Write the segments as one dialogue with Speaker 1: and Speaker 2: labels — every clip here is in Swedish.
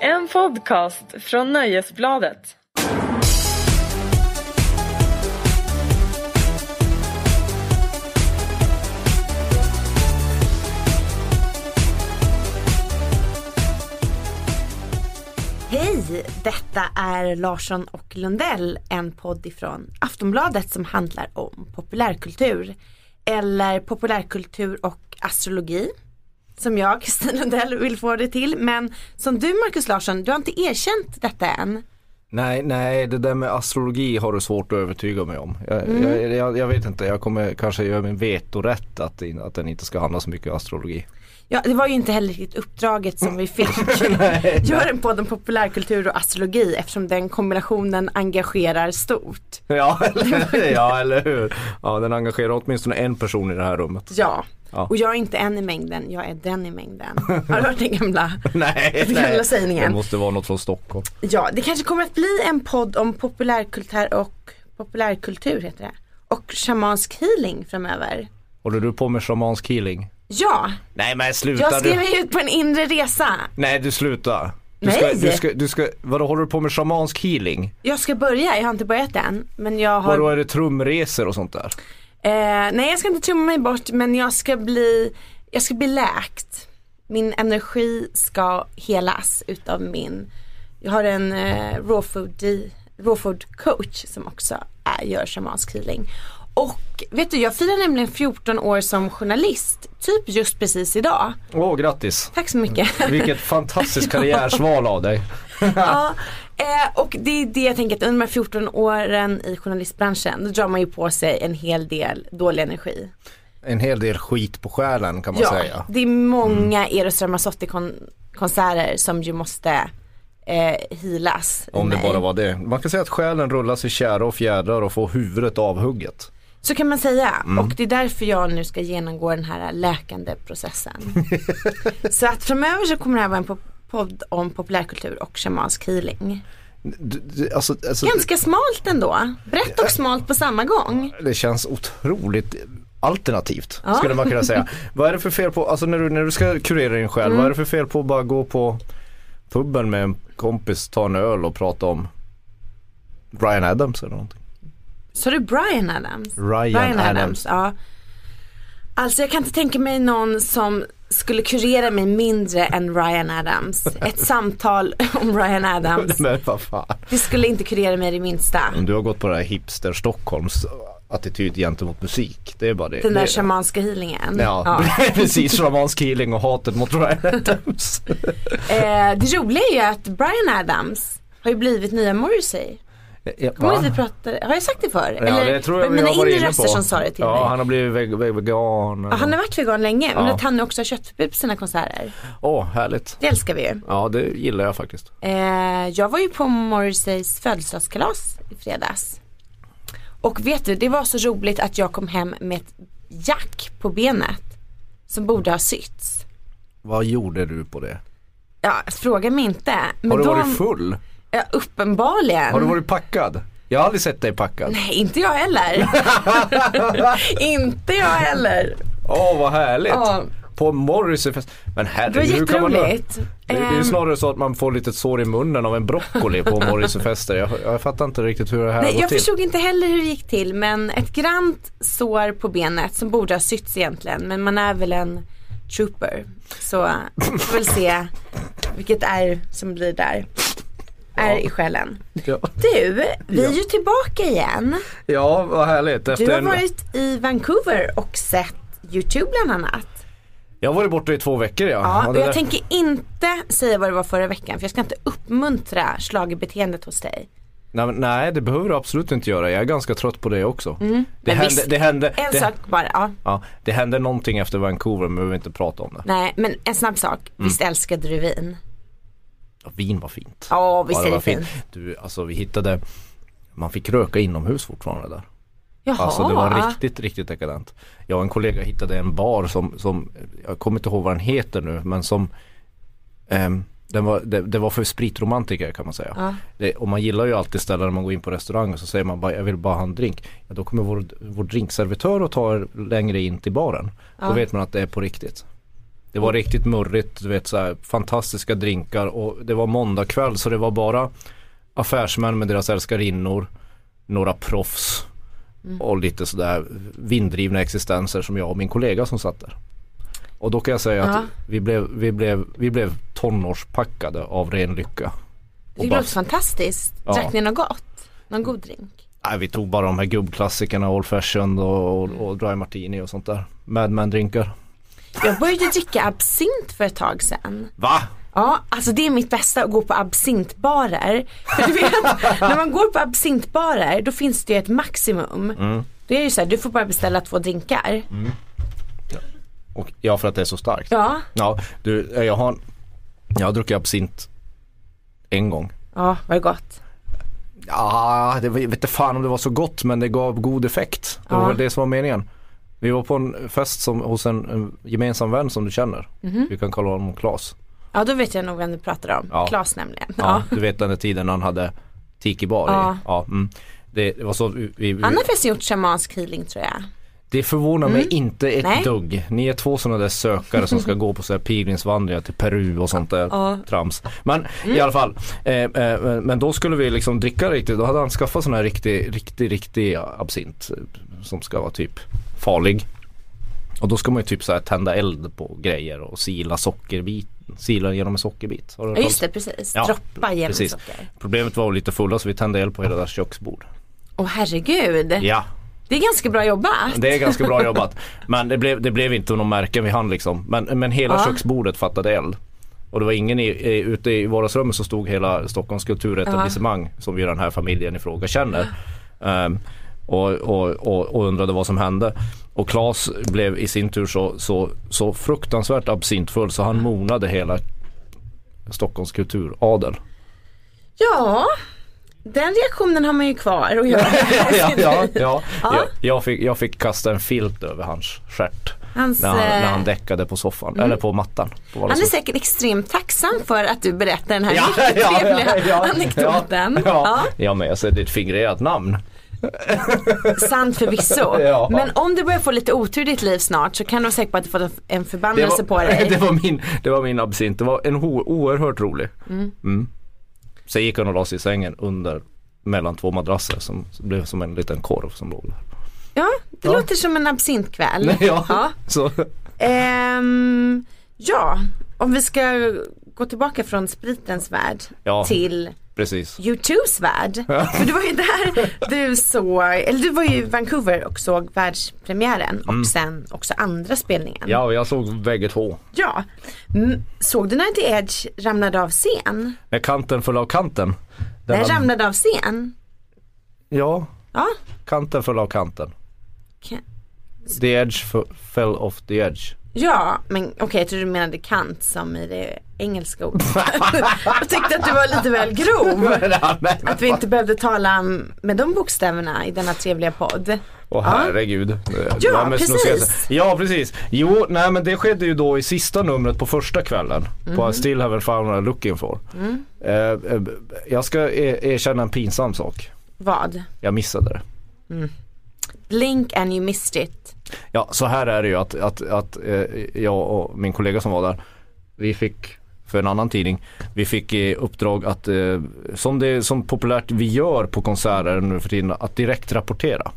Speaker 1: En podcast från Nöjesbladet.
Speaker 2: Hej! Detta är Larsson och Lundell, en podd ifrån Aftonbladet som handlar om populärkultur. Eller populärkultur och astrologi. Som jag, Kristin Lundell, vill få det till. Men som du, Markus Larsson, du har inte erkänt detta än.
Speaker 3: Nej, nej, det där med astrologi har du svårt att övertyga mig om. Jag,
Speaker 2: Mm.
Speaker 3: jag, jag, jag vet inte, jag kommer kanske göra min vetorätt att, in- att den inte ska handla så mycket om astrologi.
Speaker 2: Ja, det var ju inte heller riktigt uppdraget som vi fick. Gör en podd om populärkultur och astrologi eftersom den kombinationen engagerar stort.
Speaker 3: Ja, eller, ja, eller hur? Ja, den engagerar åtminstone en person i det här rummet.
Speaker 2: Ja.
Speaker 3: Ja.
Speaker 2: Och jag är inte en i mängden, jag är den i mängden. Har du hört den gamla?
Speaker 3: Nej,
Speaker 2: Den gamla sägningen.
Speaker 3: det måste vara något från Stockholm.
Speaker 2: Ja, det kanske kommer att bli en podd om populärkultur och populärkultur heter det. Och shamansk healing framöver.
Speaker 3: Håller du på med shamansk healing?
Speaker 2: Ja,
Speaker 3: Nej men
Speaker 2: jag
Speaker 3: sluta
Speaker 2: skrev
Speaker 3: du.
Speaker 2: mig ut på en inre resa.
Speaker 3: Nej du sluta. Du ska,
Speaker 2: Nej.
Speaker 3: Du ska, du ska, vadå håller du på med shamansk healing?
Speaker 2: Jag ska börja, jag har inte börjat än. Men jag har...
Speaker 3: Vadå är det trumresor och sånt där?
Speaker 2: Eh, nej jag ska inte tumma mig bort men jag ska bli, jag ska bli läkt. Min energi ska helas utav min, jag har en eh, raw, food, raw food coach som också är, gör shamansk healing. Och vet du jag firar nämligen 14 år som journalist, typ just precis idag.
Speaker 3: Åh grattis.
Speaker 2: Tack så mycket.
Speaker 3: Vilket fantastiskt karriärsval av dig.
Speaker 2: ja, eh, och det är det jag tänker att under de här 14 åren i journalistbranschen då drar man ju på sig en hel del dålig energi.
Speaker 3: En hel del skit på själen kan man säga. Mm.
Speaker 2: det är många Eros Ramazzotti-konserter som ju måste eh, healas. i
Speaker 3: Om det
Speaker 2: mig.
Speaker 3: bara var det. Man kan säga att själen rullas i kära och fjädrar och får huvudet avhugget.
Speaker 2: Så kan man säga.
Speaker 3: Mm.
Speaker 2: Och det är därför jag nu ska genomgå den här läkande processen. så att framöver så kommer det här vara en po- podd om populärkultur och shamansk healing.
Speaker 3: D- d- Alltså, alltså,
Speaker 2: Ganska smalt ändå. Brett och smalt på samma gång.
Speaker 3: det känns otroligt alternativt skulle man kunna säga. vad är det för fel på, alltså när du, när du ska kurera din själ, vad är det för fel på att bara gå på puben med en kompis, ta en öl och prata om Brian Adams eller någonting?
Speaker 2: Så det är Brian Adams?
Speaker 3: Ryan Adams.
Speaker 2: ja. Alltså jag kan inte tänka mig någon som skulle kurera mig mindre än Ryan Adams. Ett samtal om Ryan Adams.
Speaker 3: Men vad fan.
Speaker 2: Det skulle inte kurera mig det minsta.
Speaker 3: Om du har gått på det här hipster Stockholms attityd gentemot musik, det är bara det.
Speaker 2: Den där
Speaker 3: det,
Speaker 2: shamanska healingen.
Speaker 3: Ja, precis. Shamansk healing och hatet mot Ryan Adams.
Speaker 2: Eh, det roliga är ju att Brian Adams har ju blivit nya Morrissey.
Speaker 3: Ja,
Speaker 2: Kommer du att vi pratade, har jag sagt det förr?
Speaker 3: Ja, det tror jag
Speaker 2: var
Speaker 3: vi
Speaker 2: det
Speaker 3: har varit
Speaker 2: inre
Speaker 3: inne
Speaker 2: röster
Speaker 3: på.
Speaker 2: som sa det till
Speaker 3: ja,
Speaker 2: mig?
Speaker 3: han har blivit veg- veg- vegan.
Speaker 2: Ja, han har varit vegan länge men
Speaker 3: Ja.
Speaker 2: att han nu också har köttförbud på sina konserter.
Speaker 3: Åh, härligt.
Speaker 2: Det älskar vi ju.
Speaker 3: Ja, det gillar jag faktiskt.
Speaker 2: Eh, jag var ju på Morrisseys födelsedagskalas i fredags. Och vet du, det var så roligt att jag kom hem med ett jack på benet. Som borde ha sytts.
Speaker 3: Vad gjorde du på det?
Speaker 2: Ja, fråga mig inte. Men
Speaker 3: Har du
Speaker 2: då,
Speaker 3: varit full?
Speaker 2: Ja, uppenbarligen.
Speaker 3: Har du varit packad? Jag har aldrig sett dig packad.
Speaker 2: Nej, inte jag heller. inte jag heller.
Speaker 3: Åh, vad härligt.
Speaker 2: Ja.
Speaker 3: På Morrisseyfest. Men
Speaker 2: Det var
Speaker 3: herregud, hur kan man... Det,
Speaker 2: jätteroligt.
Speaker 3: det är ju
Speaker 2: Ehm,
Speaker 3: snarare så att man får lite sår i munnen av en broccoli på Morrisseyfester. Jag, jag fattar inte riktigt hur det här har
Speaker 2: Nej,
Speaker 3: gått
Speaker 2: jag
Speaker 3: till.
Speaker 2: förstod inte heller hur det gick till men ett grant sår på benet som borde ha sytts egentligen men man är väl en trooper. Så vi får väl se vilket är som blir där. Är i själen.
Speaker 3: Ja.
Speaker 2: Du, vi är ju tillbaka igen.
Speaker 3: ja, vad härligt. Efter
Speaker 2: Du har
Speaker 3: en...
Speaker 2: varit i Vancouver och sett YouTube bland annat.
Speaker 3: Jag har varit borta i två veckor ja.
Speaker 2: Ja, och
Speaker 3: det
Speaker 2: jag
Speaker 3: där-
Speaker 2: tänker inte säga vad det var förra veckan för jag ska inte uppmuntra schlagerbeteendet hos dig.
Speaker 3: nej, men- nej, det behöver du absolut inte göra. Jag är ganska trött på det också. Det,
Speaker 2: Mm. men
Speaker 3: hände,
Speaker 2: visst,
Speaker 3: det, hände,
Speaker 2: En
Speaker 3: det,
Speaker 2: sak bara, ja.
Speaker 3: ja, det hände någonting efter Vancouver men vi behöver inte prata om det.
Speaker 2: Nej men en snabb sak.
Speaker 3: Mm.
Speaker 2: Visst älskade du vin?
Speaker 3: Ja, vin var fint.
Speaker 2: Ja visst
Speaker 3: det
Speaker 2: är
Speaker 3: var
Speaker 2: det fint.
Speaker 3: Du, alltså vi hittade, man fick röka inomhus fortfarande där.
Speaker 2: Jaha.
Speaker 3: Alltså det var riktigt, riktigt dekadent. Jag och en kollega hittade en bar som, som jag kommer inte ihåg vad den heter nu, men som ehm, den var, det, det var för spritromantiker kan man säga. Det, och man gillar ju alltid ställen när man går in på restaurang och så säger man bara jag vill bara ha en drink. Ja, då kommer vår, vår drinkservitör och tar er längre in till baren. Då vet man att det är på riktigt. Det var riktigt murrigt, du vet så här, fantastiska drinkar och det var måndagkväll så det var bara affärsmän med deras älskarinnor, några proffs och lite sådär vinddrivna existenser som jag och min kollega som satt där. Och då kan jag säga
Speaker 2: Ja.
Speaker 3: att vi blev, vi, blev, vi blev tonårspackade av ren lycka.
Speaker 2: Det
Speaker 3: bara-
Speaker 2: låter fantastiskt.
Speaker 3: Ja.
Speaker 2: Drack ni något gott? Någon god drink?
Speaker 3: Nej, vi tog bara de här gubbklassikerna, Old Fashioned och,
Speaker 2: Mm.
Speaker 3: och, och Dry Martini och sånt där. Mad Men drinkar.
Speaker 2: Jag började dricka absint för ett tag sedan.
Speaker 3: Va?
Speaker 2: Ja, alltså det är mitt bästa att gå på absintbarer. För du vet, när man går på absintbarer då finns det ju ett maximum.
Speaker 3: Mm.
Speaker 2: Då är det ju såhär, du får bara beställa två drinkar.
Speaker 3: Och, ja, för att det är så starkt.
Speaker 2: Ja,
Speaker 3: Ja, du, jag har, jag har druckit absint en gång.
Speaker 2: ja var det gott.
Speaker 3: Ja, det var, jag vet inte fan om det var så gott men det gav god effekt. Det var
Speaker 2: Ja.
Speaker 3: väl det som var meningen. Vi var på en fest som, hos en, en gemensam vän som du känner.
Speaker 2: Mhm.
Speaker 3: Vi kan kalla honom Klas.
Speaker 2: Ja då vet jag nog vem du pratar om.
Speaker 3: Ja.
Speaker 2: Klas nämligen.
Speaker 3: Ja,
Speaker 2: Ja.
Speaker 3: Du vet den där tiden när han hade tiki bar i.
Speaker 2: Ja.
Speaker 3: Ja, mm. det, det var så vi, vi,
Speaker 2: Han har förresten gjort shamansk healing tror jag.
Speaker 3: Det förvånar mig inte ett
Speaker 2: Mm. Nej.
Speaker 3: dugg. Ni är två sådana där sökare som ska gå på så här pilgrimsvandringar till Peru och sånt där
Speaker 2: Ja. Mm.
Speaker 3: trams. Men i alla fall, eh, eh, men då skulle vi liksom dricka riktigt. Då hade han skaffat sån här riktig, riktig, riktig absint eh, som ska vara typ farlig. Och då ska man ju typ så här tända eld på grejer och sila sockerbit, sila genom en sockerbit. Har du hört
Speaker 2: Ja
Speaker 3: talas-
Speaker 2: just det, precis.
Speaker 3: Ja,
Speaker 2: Droppa genom
Speaker 3: precis.
Speaker 2: socker.
Speaker 3: Problemet var lite fulla så vi tände eld på hela deras köksbord.
Speaker 2: Åh herregud.
Speaker 3: Ja,
Speaker 2: Det är ganska bra jobbat.
Speaker 3: Det är ganska bra jobbat. Men det blev, det blev inte någon märken vi hann liksom. Men, men hela
Speaker 2: Ja.
Speaker 3: köksbordet fattade eld. Och det var ingen i, i, ute i vardagsrummet så stod hela Stockholms kulturetablissemang som ju den här familjen i fråga känner. ehm, och, och, och, och undrade vad som hände. Och Claes blev i sin tur så, så, så fruktansvärt absintfull så han monade hela Stockholms kulturadel.
Speaker 2: Ja, den reaktionen har man ju kvar och göra.
Speaker 3: ja, ja, ja.
Speaker 2: Ja.
Speaker 3: Jag, jag, fick, jag fick kasta en filt över hans stjärt.
Speaker 2: Hans,
Speaker 3: När han, när
Speaker 2: eh, Mm.
Speaker 3: han däckade på soffan, eller på mattan. På
Speaker 2: Han är
Speaker 3: vardagsrummet.
Speaker 2: säkert extremt tacksam för att du berättar den här riktigt trevliga anekdoten.
Speaker 3: Ja, ja.
Speaker 2: Ja,
Speaker 3: ja. men alltså, jag ser ditt fingrerat namn.
Speaker 2: sant förvisso.
Speaker 3: Ja.
Speaker 2: Men om du börjar få lite otur i ditt liv snart så kan du vara säker på att du fått en förbannelse på dig.
Speaker 3: det, var min, det var min absint, det var en ho, oerhört rolig. Mm. Sen gick han och la sig i sängen under mellan två madrasser som blev som en liten korv som låg där.
Speaker 2: Ja, det låter som en absintkväll.
Speaker 3: Ja,
Speaker 2: Ja.
Speaker 3: Så,
Speaker 2: Ehm, ja, om vi ska gå tillbaka från spritens värld
Speaker 3: Ja.
Speaker 2: till
Speaker 3: precis.
Speaker 2: U2s värld. För det var ju där du såg, eller du var ju i Vancouver och såg världspremiären och sen också andra spelningen.
Speaker 3: Ja, och jag såg bägge två.
Speaker 2: Ja. Mm, Såg du när The Edge ramlade av scen?
Speaker 3: När kanten föll av kanten. Den
Speaker 2: Den
Speaker 3: var-
Speaker 2: ramlade av scen?
Speaker 3: Ja,
Speaker 2: Ja.
Speaker 3: kanten föll av kanten.
Speaker 2: Okej.
Speaker 3: The edge f- fell off the edge.
Speaker 2: Ja, men okej jag trodde du menade kant som i det engelska ordet. jag tyckte att du var lite väl grov. Att vi inte behövde tala om- med de bokstäverna i denna trevliga podd.
Speaker 3: Åh herregud. Det var mest
Speaker 2: precis.
Speaker 3: snuskigaste. Ja precis. Jo, nej men det skedde ju då i sista numret på första kvällen. På I still haven't found what I'm looking for. Eh, eh, jag ska er- erkänna en pinsam sak.
Speaker 2: Vad?
Speaker 3: Jag missade det.
Speaker 2: Blink and you missed it.
Speaker 3: Ja, så här är det ju att, att, att eh, jag och min kollega som var där, vi fick för en annan tidning, vi fick i uppdrag att, eh, som det som populärt vi gör på konserter nu för tiden, att direkt rapportera.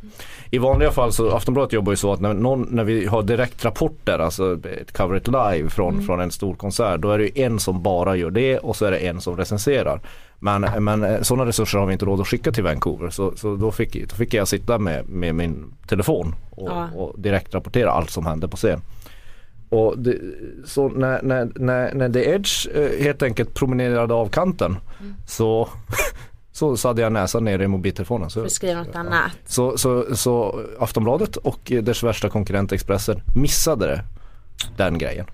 Speaker 3: I vanliga fall så, Aftonbladet jobbar ju så att när, någon, när vi har direktrapporter, alltså ett cover it live från, från en stor konsert, då är det ju en som bara gör det och så är det en som recenserar. Men, men eh, sådana resurser har vi inte råd att skicka till Vancouver så, så då, fick, då fick jag sitta med, med min telefon och,
Speaker 2: Ja.
Speaker 3: och direktrapportera allt som hände på scen. Och det, så när, när, när, när The Edge eh, helt enkelt promenerade av kanten så, så, så hade jag näsan nere i mobiltelefonen. Så,
Speaker 2: Du skriver något annat.
Speaker 3: så, så, så Aftonbladet och eh, dess värsta konkurrent Expressen missade det, den grejen.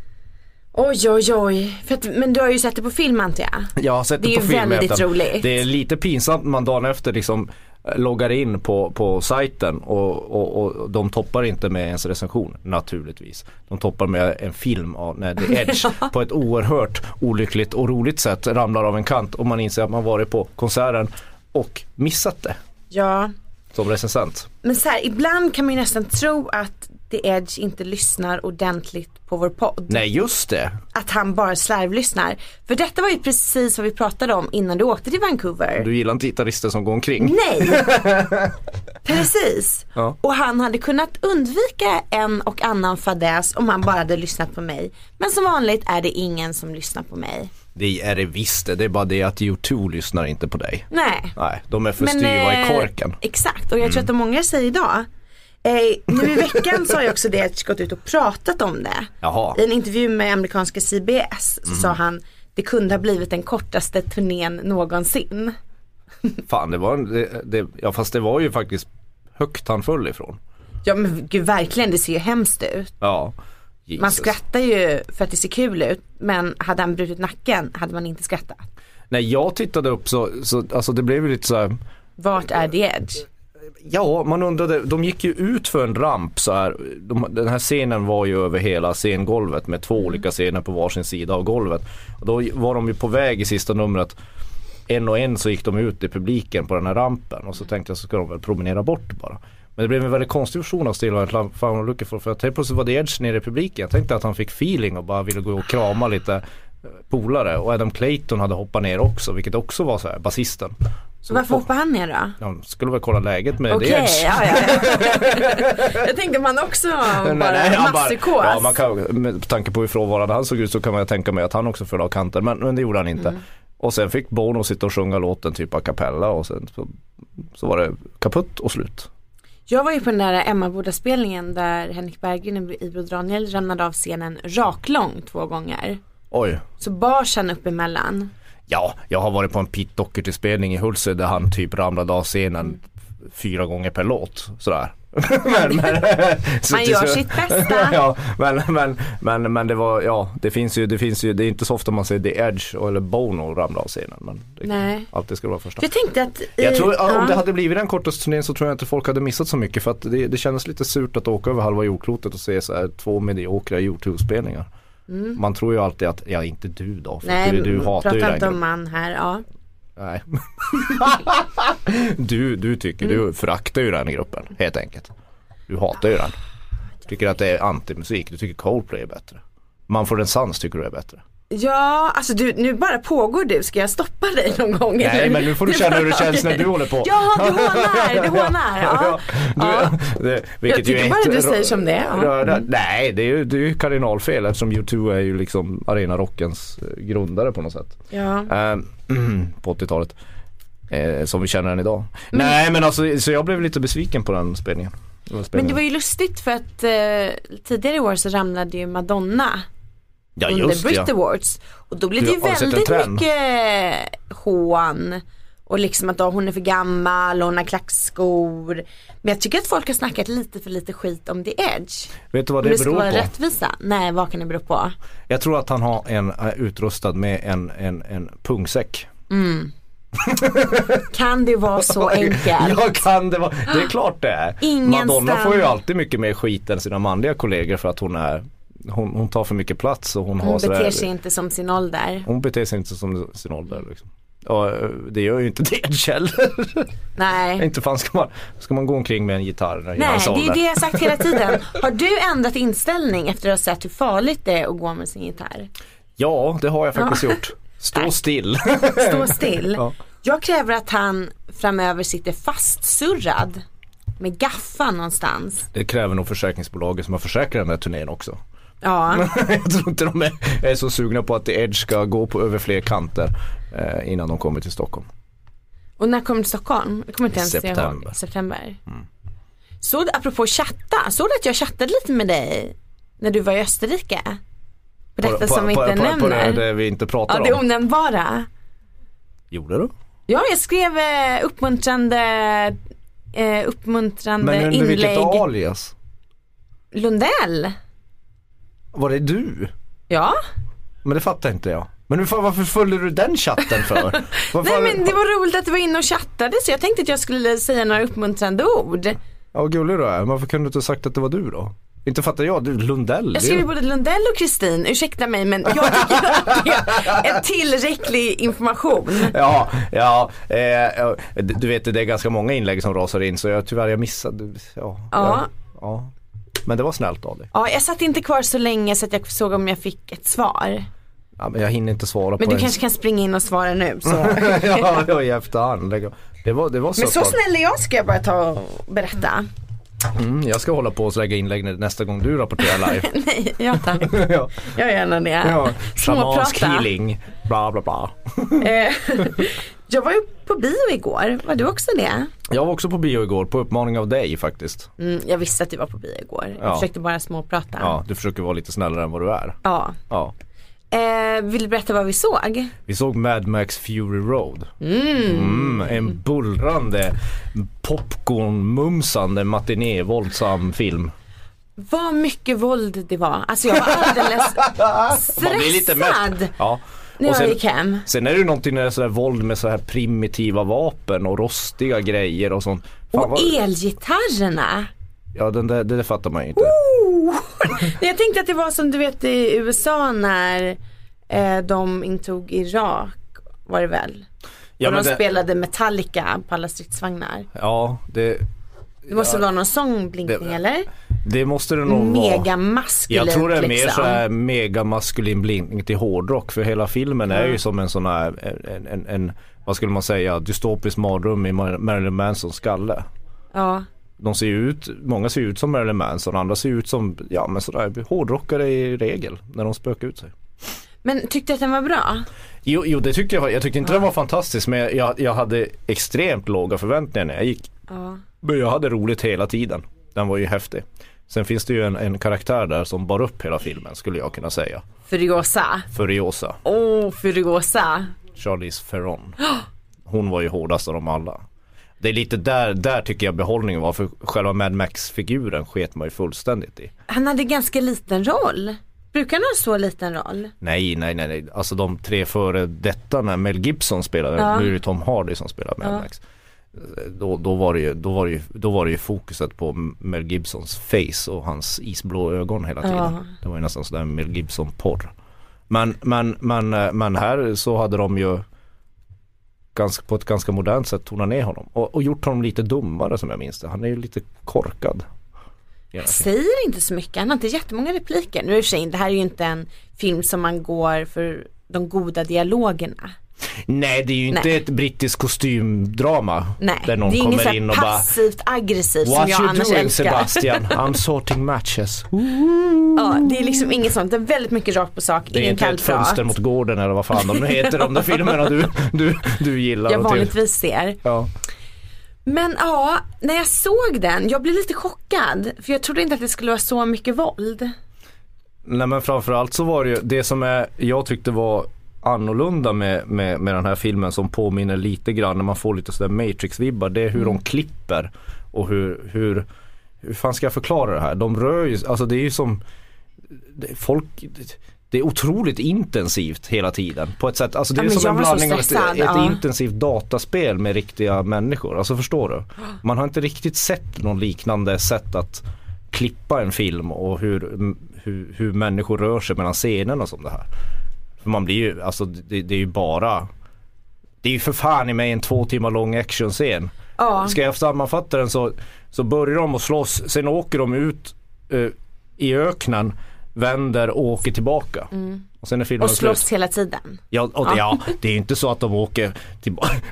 Speaker 2: Oj oj oj. För att, men du har ju sett det på film antar jag?
Speaker 3: Jag har sett det,
Speaker 2: Det är
Speaker 3: på
Speaker 2: ju
Speaker 3: film.
Speaker 2: väldigt
Speaker 3: Ethan.
Speaker 2: roligt.
Speaker 3: Det är lite pinsamt när man dagen efter liksom eh, loggar in på, på sajten och, och, och de toppar inte med ens recension naturligtvis. De toppar med en film av när The Edge på ett oerhört olyckligt och roligt sätt ramlar av en kant och man inser att man varit på konserten och missat det
Speaker 2: Ja.
Speaker 3: som recensent.
Speaker 2: Men så här, ibland kan man ju nästan tro att The Edge inte lyssnar ordentligt på vår podd.
Speaker 3: Nej just det.
Speaker 2: Att han bara slarvlyssnar. För detta var ju precis vad vi pratade om innan du åkte till Vancouver.
Speaker 3: Du gillar inte gitarrister som går
Speaker 2: Mm.
Speaker 3: omkring.
Speaker 2: Nej! precis.
Speaker 3: Ja.
Speaker 2: Och han hade kunnat undvika en och annan fadäs om han bara hade lyssnat på mig. Men som vanligt är det ingen som lyssnar på mig.
Speaker 3: Det är det visst det. Det är bara det att U2 lyssnar inte på dig.
Speaker 2: Nej.
Speaker 3: Nej, de är för styva i
Speaker 2: eh,
Speaker 3: korken. Mm.
Speaker 2: Exakt och jag tror att det många säger idag. Eh, nu i veckan så har ju också det Edge gått ut och pratat om det.
Speaker 3: Jaha. Mm.
Speaker 2: I en intervju med amerikanska CBS så sa han det kunde ha blivit den kortaste turnén någonsin.
Speaker 3: Fan det var en, det, det, ja fast det var ju faktiskt högt han föll ifrån.
Speaker 2: Ja men gud verkligen det ser ju hemskt ut.
Speaker 3: Ja. Jesus.
Speaker 2: Man skrattar ju för att det ser kul ut men hade han brutit nacken hade man inte skrattat.
Speaker 3: När jag tittade upp så, så alltså det blev ju lite så här,
Speaker 2: Vart är The Edge?
Speaker 3: ja man undrade, de gick ju ut för en ramp så här. De, den här scenen var ju över hela scengolvet med två olika scener på varsin sida av golvet. Och då var de ju på väg i sista numret en och en så gick de ut i publiken på den här rampen och så tänkte jag så ska de väl promenera bort bara. Men det blev en väldigt konstig version av Still White Fan och Lucky for, för att helt plötsligt var det Edge nere i publiken. Jag tänkte att han fick feeling och bara ville gå och krama lite eh, polare och Adam Clayton hade hoppat ner också vilket också var så här basisten. Så
Speaker 2: Varför
Speaker 3: folk-
Speaker 2: hoppar han ner då?
Speaker 3: de skulle väl kolla läget med
Speaker 2: Okej,
Speaker 3: det Edge.
Speaker 2: ja, ja, ja. Jag tänkte man också bara
Speaker 3: han bara-
Speaker 2: masspsykos.
Speaker 3: ja, man kan, med tanke på hur frånvarande han såg ut så kan man ju tänka mig att han också föll av kanten men, men det gjorde han inte.
Speaker 2: Mm.
Speaker 3: Och sen fick Bono sitta och sjunga låten typ a cappella och sen så, så var det kaputt och slut.
Speaker 2: Jag var ju på den där Emmaboda-spelningen där Henrik Berggren och Ibro Daniel ramlade av scenen raklång två gånger.
Speaker 3: Oj.
Speaker 2: Så bars han upp emellan.
Speaker 3: Ja, jag har varit på en Pete Doherty-spelning i Hultsfred där han typ ramlade av scenen f- fyra gånger per låt. Sådär. men, men, så
Speaker 2: Man
Speaker 3: till
Speaker 2: gör
Speaker 3: slut-
Speaker 2: sitt bästa.
Speaker 3: ja, men, men, men, men det var, ja det finns ju, det finns ju, det är inte så ofta man ser The Edge och- eller Bono ramla av scenen. Men det,
Speaker 2: Nej.
Speaker 3: alltid ska det vara första.
Speaker 2: Jag tänkte att... i-
Speaker 3: Jag tror, ja,
Speaker 2: ja.
Speaker 3: om det hade blivit den kortaste turnén så tror jag inte folk hade missat så mycket för att det, det kändes lite surt att åka över halva jordklotet och se så här två mediokra YouTube-spelningar. Man tror ju alltid att, ja inte du då, för
Speaker 2: Mm. Nej,
Speaker 3: du, du hatar
Speaker 2: prata
Speaker 3: ju
Speaker 2: inte
Speaker 3: den gruppen.
Speaker 2: om man här. Ja.
Speaker 3: Nej. du, du tycker,
Speaker 2: Mm.
Speaker 3: du föraktar ju den gruppen helt enkelt. Du hatar ju den. Du tycker att det är antimusik, du tycker Coldplay är bättre. Man får en sans tycker du är bättre.
Speaker 2: ja, alltså du, nu bara pågår du. Ska jag stoppa dig någon gång?
Speaker 3: Nej men nu får du känna hur det känns när du håller på.
Speaker 2: Ja, du hånar, du hånar. Ja.
Speaker 3: Du,
Speaker 2: Ja.
Speaker 3: det, vilket
Speaker 2: Jag tycker
Speaker 3: ju är
Speaker 2: bara
Speaker 3: inte
Speaker 2: du
Speaker 3: rö-
Speaker 2: säger som det är, ja. Mm.
Speaker 3: röra- Nej det är ju, det är ju kardinalfel eftersom U2 är ju liksom arenarockens eh, grundare på något sätt.
Speaker 2: Ja.
Speaker 3: Ehm, på 80-talet. Eh, som vi känner den idag. Nej men alltså så jag blev lite besviken på den spelningen. Den här
Speaker 2: Mm. Men
Speaker 3: spelningen.
Speaker 2: det var ju lustigt för att eh, tidigare i år så ramlade ju Madonna
Speaker 3: ja,
Speaker 2: under
Speaker 3: just,
Speaker 2: Brit
Speaker 3: ja.
Speaker 2: Awards. Och då blev det
Speaker 3: Du,
Speaker 2: ju
Speaker 3: har du sett en
Speaker 2: väldigt
Speaker 3: trend?
Speaker 2: mycket hån. Och liksom att ja, hon är för gammal och hon har klackskor. Men jag tycker att folk har snackat lite för lite skit om The Edge.
Speaker 3: Vet du vad
Speaker 2: Om det
Speaker 3: det
Speaker 2: ska
Speaker 3: beror på?
Speaker 2: vara rättvisa. Nej vad kan det bero på?
Speaker 3: Jag tror att han har en eh, utrustad med en, en, en pungsäck.
Speaker 2: Kan det vara så enkelt?
Speaker 3: Jag kan det vara, det är klart det är.
Speaker 2: Ah, Ingen
Speaker 3: Madonna
Speaker 2: standard.
Speaker 3: får ju alltid mycket mer skit än sina manliga kollegor för att hon är Hon, hon tar för mycket plats och hon, har
Speaker 2: Hon
Speaker 3: sådär-
Speaker 2: beter sig inte som sin ålder.
Speaker 3: hon beter sig inte som sin ålder liksom. Ja, det gör ju inte det heller.
Speaker 2: Nej.
Speaker 3: inte fan ska man, ska man gå omkring med en gitarr när
Speaker 2: Nej,
Speaker 3: hans
Speaker 2: det är
Speaker 3: ålder.
Speaker 2: ju det jag har sagt hela tiden. Har du ändrat inställning efter att ha sett hur farligt det är att gå med sin gitarr?
Speaker 3: Ja, det har jag faktiskt gjort. Stå still.
Speaker 2: stå still.
Speaker 3: Ja.
Speaker 2: Jag kräver att han framöver sitter fastsurrad med gaffeln någonstans.
Speaker 3: Det kräver nog försäkringsbolaget som har försäkrat den här turnén också.
Speaker 2: Ja,
Speaker 3: jag tror inte de är, är så sugna på att The Edge ska gå på över fler kanter eh, innan de kommer till Stockholm.
Speaker 2: och när kommer du till Stockholm? Jag kommer inte ens
Speaker 3: September. Mm.
Speaker 2: ihåg. September. Så apropå chatta, såg du att jag chattade lite med dig när du var i Österrike? På detta som vi inte
Speaker 3: på,
Speaker 2: nämner.
Speaker 3: På det, det vi inte
Speaker 2: ja,
Speaker 3: pratar
Speaker 2: det
Speaker 3: om.
Speaker 2: onämnbara.
Speaker 3: Gjorde du?
Speaker 2: Ja, jag skrev eh, uppmuntrande, eh, uppmuntrande
Speaker 3: Men under vilket
Speaker 2: inlägg.
Speaker 3: alias?
Speaker 2: Lundell.
Speaker 3: Var det du?
Speaker 2: Ja.
Speaker 3: Men det fattar inte jag. Men hur fan, varför följde du den chatten för?
Speaker 2: Nej
Speaker 3: Varför-
Speaker 2: men det var roligt att du var inne och chattade så jag tänkte att jag skulle säga några uppmuntrande ord.
Speaker 3: Ja vad gullig du är, varför kunde du inte ha sagt att det var du då? Inte fattar jag, du Lundell. det är-
Speaker 2: Jag skriver både Lundell och Kristin, ursäkta mig men jag tycker att det är tillräcklig information.
Speaker 3: Ja, ja, eh, ja, du vet det är ganska många inlägg som rasar in så jag, tyvärr jag missade, ja.
Speaker 2: Ja.
Speaker 3: ja. Men det var snällt av dig.
Speaker 2: Ja, jag satt inte kvar så länge så att jag såg om jag fick ett svar.
Speaker 3: Ja, men jag hinner inte svara på
Speaker 2: Men du
Speaker 3: det.
Speaker 2: kanske kan springa in och svara nu.
Speaker 3: Mm.
Speaker 2: Så.
Speaker 3: ja, ja, i efterhand. Lägg av. Det var, det var
Speaker 2: Men så
Speaker 3: bra.
Speaker 2: snäll är jag ska jag bara ta och berätta.
Speaker 3: Mm, jag ska hålla på och lägga inlägg nä- nästa gång du rapporterar live.
Speaker 2: Nej, ja tack.
Speaker 3: ja.
Speaker 2: Jag gör gärna det.
Speaker 3: ja. Shamansk
Speaker 2: Småprata.
Speaker 3: healing. Bla bla bla.
Speaker 2: Eh, jag var ju på bio igår, var du också det?
Speaker 3: Jag var också på bio igår på uppmaning av dig faktiskt.
Speaker 2: Mm, jag visste att du var på bio igår, jag
Speaker 3: Ja.
Speaker 2: försökte bara småprata.
Speaker 3: Ja, du försöker vara lite snällare än vad du är.
Speaker 2: Ja.
Speaker 3: Ja.
Speaker 2: Eh, vill du berätta vad vi såg?
Speaker 3: Vi såg Mad Max Fury Road. Mm, en bullrande, popcornmumsande, matinévåldsam film.
Speaker 2: Vad mycket våld det var, alltså jag var alldeles
Speaker 3: Man blir lite
Speaker 2: stressad
Speaker 3: mätt. Ja.
Speaker 2: när
Speaker 3: Och
Speaker 2: jag
Speaker 3: sen-
Speaker 2: gick hem.
Speaker 3: Sen är det ju någonting när det är sådär våld med så här primitiva vapen och rostiga grejer och sånt. Fan,
Speaker 2: Och elgitarrerna.
Speaker 3: Ja den där, det där fattar man ju inte.
Speaker 2: Oh. jag tänkte att det var som du vet i USA när eh, de intog Irak var det väl?
Speaker 3: Ja,
Speaker 2: och de
Speaker 3: men det,
Speaker 2: spelade Metallica på alla stridsvagnar.
Speaker 3: ja det,
Speaker 2: Det måste
Speaker 3: Ja.
Speaker 2: vara någon sångblinkning
Speaker 3: Det-
Speaker 2: eller?
Speaker 3: det måste det nog vara.
Speaker 2: Mega maskulint
Speaker 3: Jag tror det är mer
Speaker 2: liksom.
Speaker 3: så här mega maskulin blinkning till hårdrock för hela filmen är
Speaker 2: Mm.
Speaker 3: ju som en sån här, en, en, en vad skulle man säga, dystopisk mardröm i Mar- Marilyn Mansons skalle.
Speaker 2: Ja.
Speaker 3: De ser ju ut, många ser ju ut som Marilyn Manson, andra ser ju ut som, ja men sådär hårdrockare i regel när de spökar ut sig.
Speaker 2: Men tyckte du att den var bra?
Speaker 3: Jo, jo det tyckte jag, jag tyckte inte den var fantastisk men jag- jag, jag hade extremt låga förväntningar när jag gick.
Speaker 2: Ja.
Speaker 3: Men jag hade roligt hela tiden. Den var ju häftig. Sen finns det ju en, en karaktär där som bar upp hela filmen skulle jag kunna säga.
Speaker 2: Furiosa.
Speaker 3: Furiosa,
Speaker 2: Åh, oh, Furiosa.
Speaker 3: Charlize Theron. Hon var ju hårdast av dem alla. Det är lite där, där tycker jag behållningen var för själva Mad Max-figuren sket man ju fullständigt i.
Speaker 2: Han hade ganska liten roll. Brukar han ha så liten roll?
Speaker 3: Nej, nej, nej, nej. Alltså de tre före detta när Mel Gibson spelade,
Speaker 2: Ja.
Speaker 3: nu är det Tom Hardy som spelar Mad
Speaker 2: Ja.
Speaker 3: Max. Då, då, var det ju, då, var det ju, då var det ju fokuset på Mel Gibsons face och hans isblå ögon hela tiden.
Speaker 2: Ja.
Speaker 3: Det var ju nästan sådär Mel Gibson-porr. Men, men, men, eh, men här så hade de ju ganska, på ett ganska modernt sätt tonat ner honom. Och, och gjort honom lite dummare som jag minns det. Han är ju lite korkad. Ja,
Speaker 2: Säger inte så mycket, han har inte jättemånga repliker. Nu är det, för sig, det här är ju inte en film som man går för de goda dialogerna.
Speaker 3: Nej det är ju inte
Speaker 2: Nej.
Speaker 3: ett brittiskt kostymdrama.
Speaker 2: Nej,
Speaker 3: där någon
Speaker 2: det är inget så
Speaker 3: kommer
Speaker 2: här
Speaker 3: in och bara
Speaker 2: passivt aggressivt som
Speaker 3: What
Speaker 2: jag
Speaker 3: you
Speaker 2: annars
Speaker 3: doing
Speaker 2: älskar.
Speaker 3: Sebastian? I'm sorting matches.
Speaker 2: Ja, det är liksom inget sånt, det är väldigt mycket rakt på sak,
Speaker 3: Det är
Speaker 2: ingen
Speaker 3: inte ett
Speaker 2: kallprat.
Speaker 3: fönster mot gården eller vad fan de nu heter de där filmerna du, du, du gillar.
Speaker 2: Jag
Speaker 3: och till-
Speaker 2: vanligtvis ser.
Speaker 3: Ja.
Speaker 2: Men ja, när jag såg den, jag blev lite chockad. För jag trodde inte att det skulle vara så mycket våld.
Speaker 3: Nej men framförallt så var det ju det som är, jag tyckte var annorlunda med, med, med den här filmen som påminner lite grann när man får lite sådär Matrix-vibbar. Det är hur
Speaker 2: Mm.
Speaker 3: de klipper och hur, hur, hur fan ska jag förklara det här? De rör ju, alltså det är ju som, det, folk det- det är otroligt intensivt hela tiden på ett sätt. Alltså det
Speaker 2: Ja,
Speaker 3: är
Speaker 2: men
Speaker 3: som en
Speaker 2: jag var så
Speaker 3: blandning av ett,
Speaker 2: stressad,
Speaker 3: ett
Speaker 2: ja.
Speaker 3: intensivt dataspel med riktiga människor. Alltså förstår du? Man har inte riktigt sett någon liknande sätt att klippa en film och hur, hur, hur människor rör sig mellan scenerna som det här. För man blir ju, alltså det, det är ju bara Det är ju för fan i mig en två timmar lång actionscen.
Speaker 2: Ja,
Speaker 3: Ska jag sammanfatta den så, så börjar de att slåss, sen åker de ut eh, i öknen, vänder och åker tillbaka. Och sen är filmen
Speaker 2: Mm. och
Speaker 3: slut.
Speaker 2: slåss hela tiden.
Speaker 3: Ja, och det, ja, det är ju inte så att de åker tillbaka.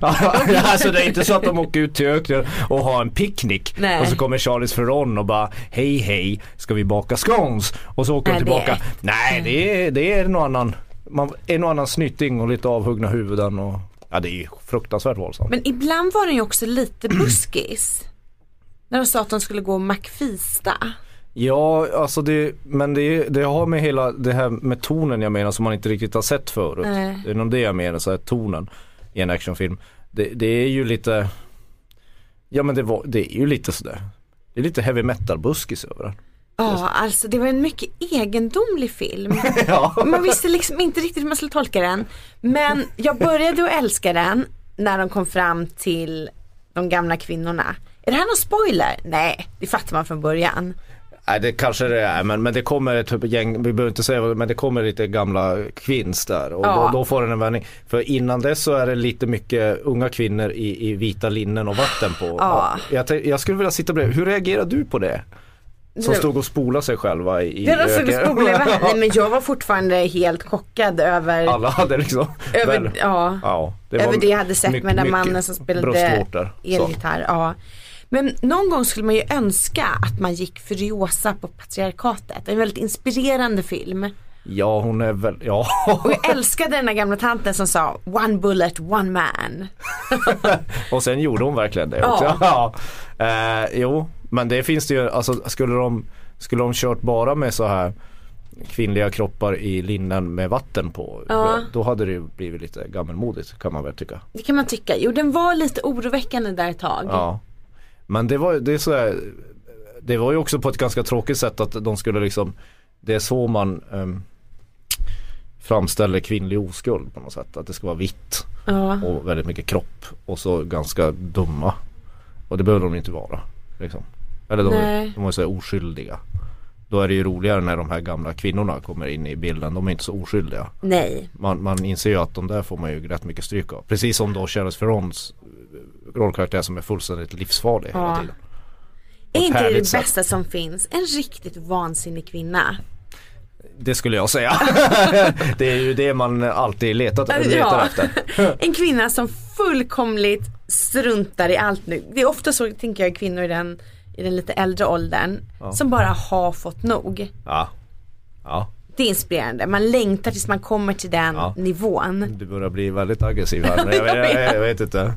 Speaker 3: alltså det är inte så att de åker ut till öknen och har en picknick.
Speaker 2: Nej.
Speaker 3: Och så kommer Charles Ferron och bara hej hej ska vi baka scones? Och så åker
Speaker 2: Nej,
Speaker 3: de
Speaker 2: det Mm. är
Speaker 3: tillbaka.
Speaker 2: ett.
Speaker 3: Nej det är, det är någon annan, man, en och annan snyting och lite avhuggna huvuden och ja det är ju fruktansvärt våldsamt.
Speaker 2: Men ibland var den ju också lite buskis. När de sa att de skulle gå och mackfista.
Speaker 3: Ja alltså det, men det, det har med hela det här med tonen jag menar som man inte riktigt har sett förut.
Speaker 2: Nej.
Speaker 3: Det är nog det jag menar, så här tonen i en actionfilm. Det, det är ju lite, ja men det, var, det är ju lite sådär. Det är lite heavy metal buskis över den.
Speaker 2: Ja, alltså det var en mycket egendomlig film.
Speaker 3: Ja.
Speaker 2: Man visste liksom inte riktigt hur man skulle tolka den. Men jag började att älska den när de kom fram till de gamla kvinnorna. Är det här någon spoiler? Nej, det fattar man från början.
Speaker 3: Nej det kanske det är men, men det kommer ett typ gäng, vi behöver inte säga vad- men det kommer lite gamla kvinns där och
Speaker 2: Ja.
Speaker 3: då, då får den en vändning. För innan dess så är det lite mycket unga kvinnor i, i vita linnen och vatten på.
Speaker 2: Ja.
Speaker 3: Jag, tänk- jag skulle vilja sitta bredvid, hur reagerar du på det? Som stod och spolade sig själva i
Speaker 2: Det var så
Speaker 3: öken.
Speaker 2: skogliga Nej men jag var fortfarande helt chockad över,
Speaker 3: Alla hade liksom
Speaker 2: över,
Speaker 3: väl-
Speaker 2: ja,
Speaker 3: ja, det var
Speaker 2: över det jag hade sett
Speaker 3: mycket-
Speaker 2: med den där
Speaker 3: mycket
Speaker 2: mannen som spelade
Speaker 3: bröstvårtor. Så.
Speaker 2: elgitarr. Ja. Men någon gång skulle man ju önska att man gick Furiosa på patriarkatet. En väldigt inspirerande film.
Speaker 3: Ja hon är väl, ja.
Speaker 2: Och jag älskade den där gamla tanten som sa one bullet, one man.
Speaker 3: Och sen gjorde hon verkligen det
Speaker 2: Ja.
Speaker 3: också. Ja. Eh, jo, men det finns det ju, alltså skulle de, skulle de kört bara med så här kvinnliga kroppar i linnen med vatten på.
Speaker 2: Ja.
Speaker 3: Då hade det ju blivit lite gammelmodigt kan man väl tycka.
Speaker 2: Det kan man tycka. Jo den var lite oroväckande där ett tag.
Speaker 3: Ja. Men det var, det, är så här, det var ju också på ett ganska tråkigt sätt att de skulle liksom Det är så man um, framställer kvinnlig oskuld på något sätt. Att det ska vara vitt
Speaker 2: Ja.
Speaker 3: och väldigt mycket kropp och så ganska dumma. Och det behöver de inte vara. Liksom. Eller de,
Speaker 2: Nej.
Speaker 3: de var ju så här oskyldiga. Då är det ju roligare när de här gamla kvinnorna kommer in i bilden. De är inte så oskyldiga.
Speaker 2: Nej.
Speaker 3: Man, man inser ju att de där får man ju rätt mycket stryk av. Precis som då Charles Ferrons eh, rollkaraktär som är fullständigt livsfarlig hela
Speaker 2: Ja.
Speaker 3: tiden.
Speaker 2: Är
Speaker 3: ett
Speaker 2: inte det
Speaker 3: härligt
Speaker 2: det
Speaker 3: sätt.
Speaker 2: bästa som finns? En riktigt vansinnig kvinna.
Speaker 3: Det skulle jag säga. det är ju det man alltid letat letar
Speaker 2: Ja.
Speaker 3: efter.
Speaker 2: En kvinna som fullkomligt struntar i allt nu. Det är ofta så tänker jag kvinnor i den, i den lite äldre åldern. Som bara har fått nog.
Speaker 3: Ja. ja,
Speaker 2: Det är inspirerande. Man längtar tills man kommer till den
Speaker 3: Ja.
Speaker 2: nivån.
Speaker 3: du börjar bli väldigt aggressiv här. Men jag, vet, jag, vet inte.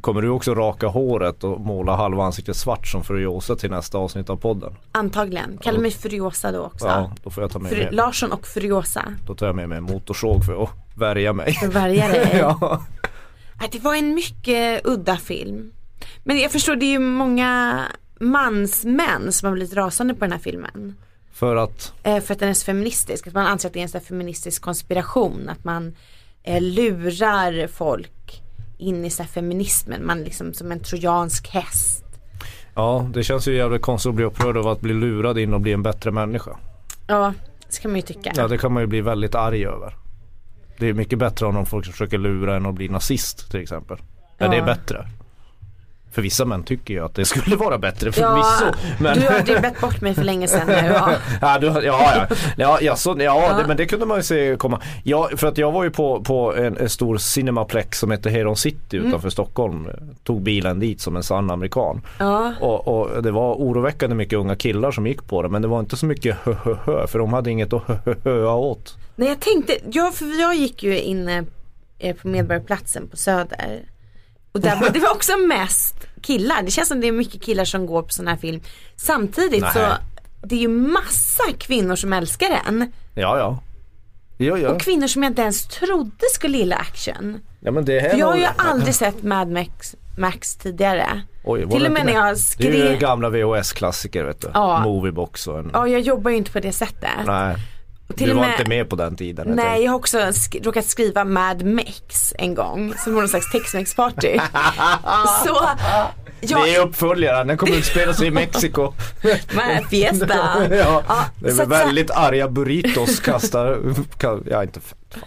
Speaker 3: Kommer du också raka håret och måla halva ansiktet svart som Furiosa till nästa avsnitt av podden?
Speaker 2: Antagligen. Kalla mig Furiosa då också.
Speaker 3: Ja, då får jag ta med
Speaker 2: Fur-
Speaker 3: mig,
Speaker 2: Larsson och Furiosa.
Speaker 3: då tar jag med mig en motorsåg för att värja mig.
Speaker 2: Värja dig.
Speaker 3: ja.
Speaker 2: Nej, Det var en mycket udda film. Men jag förstår det är ju många mansmän som har blivit rasande på den här filmen.
Speaker 3: För att
Speaker 2: Eh, för att den är så feministisk. Att man anser att det är en sån här feministisk konspiration. Att man eh, lurar folk in i så här feminismen. Man liksom som en trojansk häst.
Speaker 3: Ja, det känns ju jävligt konstigt att bli upprörd över att bli lurad in och bli en bättre människa.
Speaker 2: Ja, så kan man ju tycka.
Speaker 3: Ja, det kan man ju bli väldigt arg över. Det är mycket bättre om de folk som försöker lura än att bli nazist till exempel. Ja, det är
Speaker 2: Ja.
Speaker 3: bättre. För vissa män tycker ju att det skulle vara bättre
Speaker 2: Ja,
Speaker 3: förvisso. men...
Speaker 2: Du har dribbat bort mig för länge sedan nu. Ja.
Speaker 3: Ja, du, ja, ja. ja, ja, så, ja,
Speaker 2: Ja.
Speaker 3: Det, men det kunde man ju se komma. Ja, för att jag var ju på, på en, en stor cinemaplex som heter Heron City
Speaker 2: Mm.
Speaker 3: utanför Stockholm. Tog bilen dit som en sann amerikan.
Speaker 2: Ja.
Speaker 3: Och, och det var oroväckande mycket unga killar som gick på det men det var inte så mycket hö, hö, hö för de hade inget att hö, hö, hö åt.
Speaker 2: Nej jag tänkte, ja, för jag gick ju inne eh, på Medborgarplatsen på Söder. Och där var, det var också mest killar. Det känns som det är mycket killar som går på sån här film. Samtidigt så
Speaker 3: Nej.
Speaker 2: det är ju massa kvinnor som älskar den.
Speaker 3: Ja, ja. Ja, ja.
Speaker 2: Och kvinnor som jag inte ens trodde skulle gilla action.
Speaker 3: ja men det är
Speaker 2: För jag har
Speaker 3: nog-
Speaker 2: ju aldrig sett Mad Max, Max tidigare.
Speaker 3: Oj, var
Speaker 2: Till
Speaker 3: det
Speaker 2: och med
Speaker 3: inte
Speaker 2: när jag
Speaker 3: Det är ju
Speaker 2: skrev.
Speaker 3: gamla VHS-klassiker vet du.
Speaker 2: Ja.
Speaker 3: Moviebox och en...
Speaker 2: Ja jag jobbar ju inte på det sättet.
Speaker 3: Nej,
Speaker 2: Och till
Speaker 3: du
Speaker 2: och
Speaker 3: var
Speaker 2: med-
Speaker 3: inte med på den tiden. helt
Speaker 2: Nej jag har också sk- råkat skriva Mad Mex en gång som var någon slags Tex-Mex-party. Så jag,
Speaker 3: Det är uppföljaren, den kommer utspela sig i Mexiko.
Speaker 2: Med fiesta.
Speaker 3: ja,
Speaker 2: Ja,
Speaker 3: det är
Speaker 2: så
Speaker 3: väl
Speaker 2: att-
Speaker 3: väldigt arga burritos kastar, ka- ja inte, fan.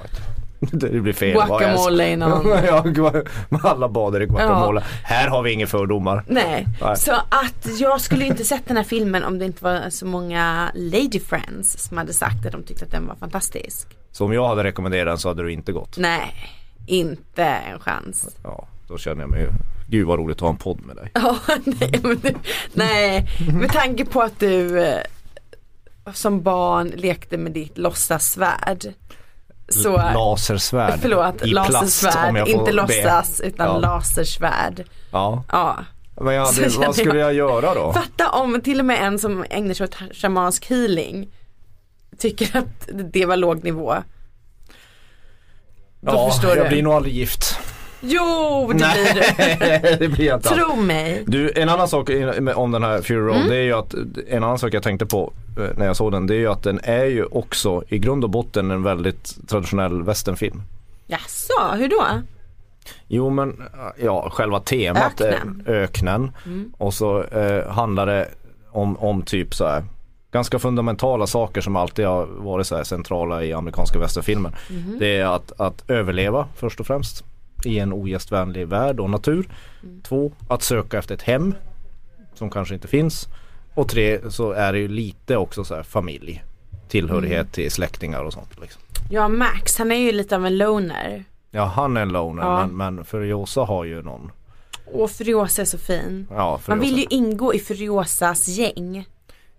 Speaker 3: det blir fel. vad jag sa.
Speaker 2: Guacamole i någon-
Speaker 3: ja, gua- alla badar i guacamole. Här har vi inga fördomar.
Speaker 2: Nej.
Speaker 3: Nej.
Speaker 2: så att jag skulle ju inte sett den här filmen om det inte var så många lady friends som hade sagt att de tyckte att den var fantastisk.
Speaker 3: Så om jag hade rekommenderat den så hade du inte gått.
Speaker 2: Nej, inte en chans.
Speaker 3: Ja, då känner jag mig ju, gud vad roligt att ha en podd med dig.
Speaker 2: Ja, nej, men, du- nej, med tanke på att du eh, som barn lekte med ditt låtsassvärd. Så,
Speaker 3: lasersvärd
Speaker 2: förlåt,
Speaker 3: i plast om
Speaker 2: lasersvärd,
Speaker 3: jag får
Speaker 2: inte
Speaker 3: be.
Speaker 2: låtsas utan
Speaker 3: Ja. eh,
Speaker 2: Mm. Mhm. Mm.
Speaker 3: eh, typ Och tre så är det ju lite också så här familj. Tillhörighet
Speaker 2: Mm.
Speaker 3: till släktingar och sånt. Liksom.
Speaker 2: Ja, Max han är ju lite av en loner.
Speaker 3: Ja han är en loner
Speaker 2: Ja.
Speaker 3: men, men Furiosa har ju någon.
Speaker 2: Och Furiosa är så fin.
Speaker 3: Ja,
Speaker 2: Man
Speaker 3: Furiosa-
Speaker 2: vill ju ingå i Furiosas gäng.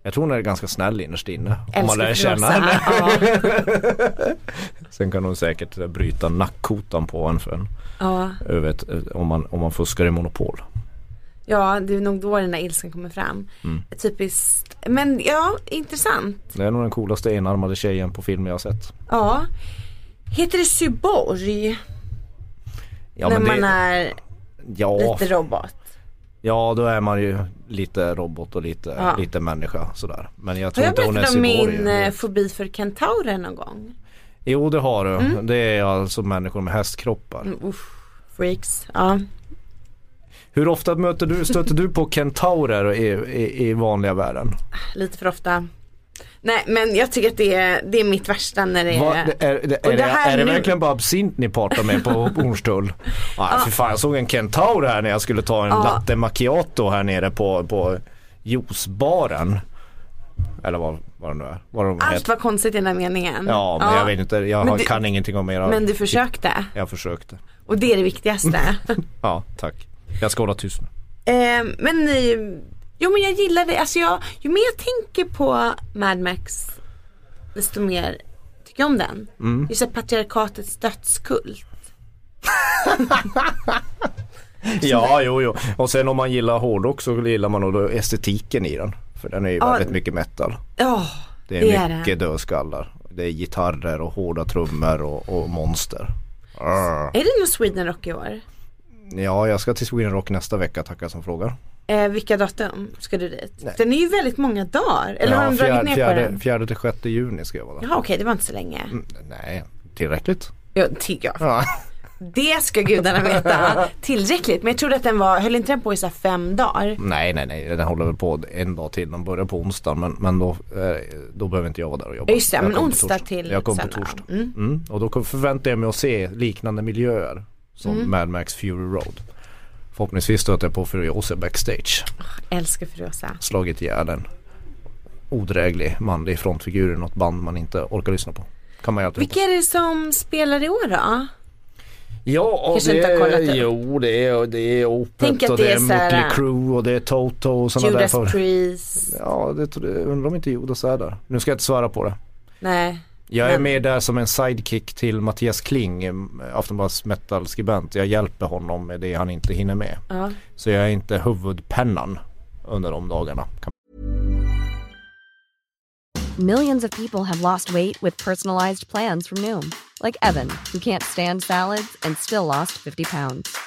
Speaker 3: Jag tror hon är ganska snäll innerst inne. Om
Speaker 2: Älskar
Speaker 3: man lär känna
Speaker 2: Furiosa.
Speaker 3: henne.
Speaker 2: Ja,
Speaker 3: Sen kan hon säkert eh, bryta nackkotan på en för en.
Speaker 2: ja.
Speaker 3: Jag vet, eh, om, man, om man fuskar i monopol.
Speaker 2: ja, det är nog då den där ilskan kommer fram.
Speaker 3: Mm.
Speaker 2: Typiskt. Men ja, intressant.
Speaker 3: Det är nog den coolaste enarmade tjejen på film jag har sett.
Speaker 2: Ja. Heter det cyborg?
Speaker 3: Ja,
Speaker 2: när
Speaker 3: men
Speaker 2: man
Speaker 3: det,
Speaker 2: är
Speaker 3: ja,
Speaker 2: lite robot.
Speaker 3: ja då är man ju lite robot och lite,
Speaker 2: Ja.
Speaker 3: lite människa sådär. Men jag
Speaker 2: Har
Speaker 3: tror
Speaker 2: jag
Speaker 3: inte hon är
Speaker 2: berättat om
Speaker 3: cyborg.
Speaker 2: min eh, fobi för kentaurer någon gång?
Speaker 3: Jo det har du. Det är alltså människor med hästkroppar.
Speaker 2: Mm, Usch, freaks. Ja.
Speaker 3: Hur ofta möter du, stöter du på kentaurer i, i, i vanliga världen?
Speaker 2: Lite för ofta. Nej men jag tycker att det är, det är mitt värsta när det är,
Speaker 3: Va, det är, det,
Speaker 2: Och
Speaker 3: är,
Speaker 2: det
Speaker 3: det,
Speaker 2: här
Speaker 3: är det
Speaker 2: nu-
Speaker 3: verkligen bara absint ni partar med på Hornstull? Nej för fan jag såg en kentaur här när jag skulle ta en
Speaker 2: Ja.
Speaker 3: latte macchiato här nere på, på juicebaren. Eller vad, vad det nu är. Vad de
Speaker 2: allt
Speaker 3: heter.
Speaker 2: var konstigt i den här meningen.
Speaker 3: Ja men jag vet inte, jag
Speaker 2: Men
Speaker 3: har-
Speaker 2: du-
Speaker 3: kan ingenting om era.
Speaker 2: Men du försökte
Speaker 3: Jag försökte.
Speaker 2: och det är det viktigaste.
Speaker 3: Ja tack. Jag ska hålla tyst nu.
Speaker 2: eh, men eh, jo men jag gillar det, alltså jag, ju mer jag tänker på Mad Max desto mer tycker jag om den.
Speaker 3: Mm.
Speaker 2: Det är så här patriarkatets dödskult.
Speaker 3: Ja jo jo. Och sen om man gillar hårdrock så gillar man nog då estetiken i den. För den är ju
Speaker 2: Ja.
Speaker 3: väldigt mycket metal.
Speaker 2: Ja,
Speaker 3: Det är
Speaker 2: Det är
Speaker 3: mycket dödskallar. Det är gitarrer och hårda trummor och, och monster. Arr.
Speaker 2: är det någon Sweden Rock i år?
Speaker 3: Ja, jag ska till Sweden Rock nästa vecka, tackar som frågar.
Speaker 2: Eh, vilka datum ska du dit? Den är ju väldigt många dagar, eller har
Speaker 3: Ja,
Speaker 2: de dragit
Speaker 3: fjärde,
Speaker 2: ner på
Speaker 3: fjärde,
Speaker 2: den?
Speaker 3: fjärde till sjätte juni ska jag vara där.
Speaker 2: Jaha okej, det var inte så länge.
Speaker 3: Nej, tillräckligt.
Speaker 2: Jo, tycker jag.
Speaker 3: Ja.
Speaker 2: Det ska gudarna veta tillräckligt. Men jag trodde att den var, höll inte den på i så här fem dagar?
Speaker 3: Nej, nej, nej, den håller väl på en dag till. De börjar på onsdag, men, men då, eh, då behöver inte jag vara där och jobba.
Speaker 2: Ja, just det,
Speaker 3: jag
Speaker 2: men
Speaker 3: kommer på
Speaker 2: onsdag
Speaker 3: torsdag.
Speaker 2: till
Speaker 3: Jag kommer på
Speaker 2: söndag.
Speaker 3: torsdag. Mm. Och då kom- förväntar jag mig att se liknande miljöer som
Speaker 2: Mm.
Speaker 3: Mad Max Fury Road. Förhoppningsvis stöter jag på Furiosa backstage.
Speaker 2: Älskar Furiosa.
Speaker 3: slagit ihjäl en odräglig manlig frontfigur i något band man inte orkar lyssna på. Kan man ju alltid
Speaker 2: Vilka är det som spelar i år då?
Speaker 3: Ja, och
Speaker 2: Kanske
Speaker 3: det
Speaker 2: inte har kollat
Speaker 3: är,
Speaker 2: upp.
Speaker 3: jo det är, det är
Speaker 2: Tänk
Speaker 3: Opet
Speaker 2: att
Speaker 3: och
Speaker 2: det
Speaker 3: det
Speaker 2: är
Speaker 3: är
Speaker 2: så här- äh,
Speaker 3: Mötley Crüe och det är Toto och sådana där
Speaker 2: Judas
Speaker 3: för...
Speaker 2: Priest?
Speaker 3: Ja, det tror jag, undrar om inte Judas är där. Nu ska jag inte svära på det.
Speaker 2: Nej.
Speaker 3: Jag är
Speaker 2: Men-
Speaker 3: med där som en sidekick till Mattias Kling, eh, Aftonbladets metalskribent. Jag hjälper honom med det han inte hinner med.
Speaker 2: Ja.
Speaker 3: Så jag är inte huvudpennan under de dagarna. Kan
Speaker 4: Millions of people have lost weight with personalized plans from Noom, like Evan, who can't stand salads and still lost 50 pounds.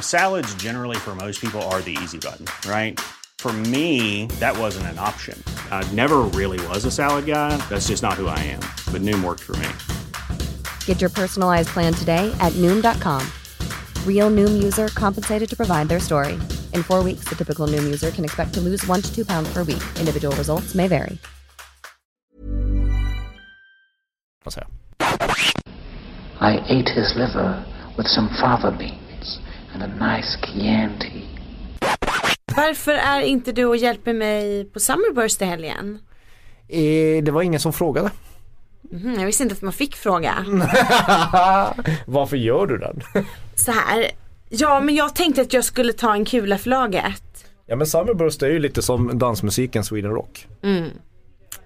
Speaker 5: Salads, generally, for most people, are the easy button, right? For me, that wasn't an option. I never really was a salad guy. That's just not who I am. But Noom worked for me.
Speaker 4: Get your personalized plan today at Noom.com. Real Noom user compensated to provide their story. In four weeks, the typical Noom user can expect to lose one to two pounds per week. Individual results may vary.
Speaker 3: man säga.
Speaker 6: I ate his liver with some fava beans and a nice Chianti.
Speaker 2: Varför är inte du och hjälper mig på Summerburst i helgen?
Speaker 3: Eh, det var ingen som frågade.
Speaker 2: Mhm, jag visste inte att man fick fråga.
Speaker 3: Mm. Varför gör du den?
Speaker 2: Så här. Ja men jag tänkte att jag skulle ta en kula för laget.
Speaker 3: Ja men Summerburst är ju lite som dansmusiken Sweden Rock.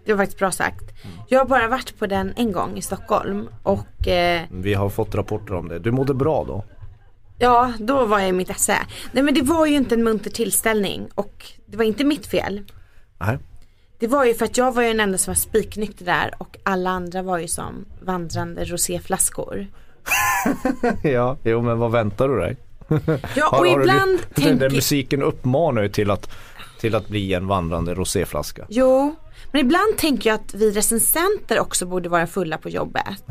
Speaker 2: Det var faktiskt bra sagt.
Speaker 3: Mm.
Speaker 2: Jag har bara varit på den en gång i Stockholm och eh,
Speaker 3: Vi har fått rapporter om det. Du mådde bra då?
Speaker 2: Ja, då var jag i mitt esse. Nej men det var ju inte en munter tillställning och det var inte mitt fel.
Speaker 3: Nej.
Speaker 2: Det var ju för att jag var ju den enda som var spiknykter där och alla andra var ju som vandrande roséflaskor.
Speaker 3: ja, jo men vad väntar du dig?
Speaker 2: Ja och
Speaker 3: Har- har du
Speaker 2: ibland
Speaker 3: lyft- Den där
Speaker 2: tänker
Speaker 3: musiken uppmanar ju till att, till att bli en vandrande roséflaska.
Speaker 2: Jo, men ibland tänker jag att vi recensenter också borde vara fulla på jobbet.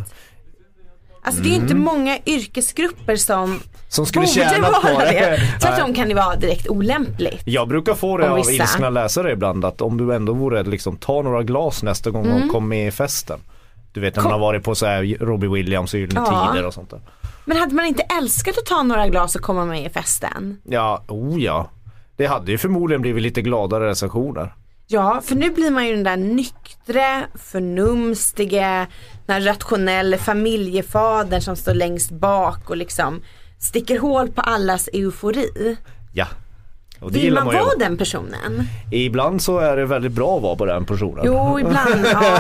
Speaker 2: Alltså det är inte många yrkesgrupper som
Speaker 3: Som Mm. skulle
Speaker 2: borde
Speaker 3: tjäna på
Speaker 2: vara
Speaker 3: det.
Speaker 2: Tvärtom
Speaker 3: Nej.
Speaker 2: kan det vara direkt olämpligt.
Speaker 3: Jag brukar få det
Speaker 2: Om
Speaker 3: av
Speaker 2: vissa.
Speaker 3: ilskna läsare ibland att om du ändå vore liksom ta några glas nästa gång
Speaker 2: Mm.
Speaker 3: de kom med i festen. Du vet när man har varit på så här Robbie Williams och Gyllene
Speaker 2: Ja.
Speaker 3: Tider och sånt där.
Speaker 2: Men hade man inte älskat att ta några glas och komma med i festen?
Speaker 3: Ja, oh ja. Det hade ju förmodligen blivit lite gladare recensioner.
Speaker 2: Ja, för nu blir man ju den där nyktre, förnumstige, den här rationella familjefadern som står längst bak och liksom sticker hål på allas eufori.
Speaker 3: Ja. Och det
Speaker 2: Vill
Speaker 3: gillar
Speaker 2: man,
Speaker 3: man ju.
Speaker 2: vara den personen?
Speaker 3: Ibland så är det väldigt bra att vara på den personen.
Speaker 2: Jo, ibland. Ja.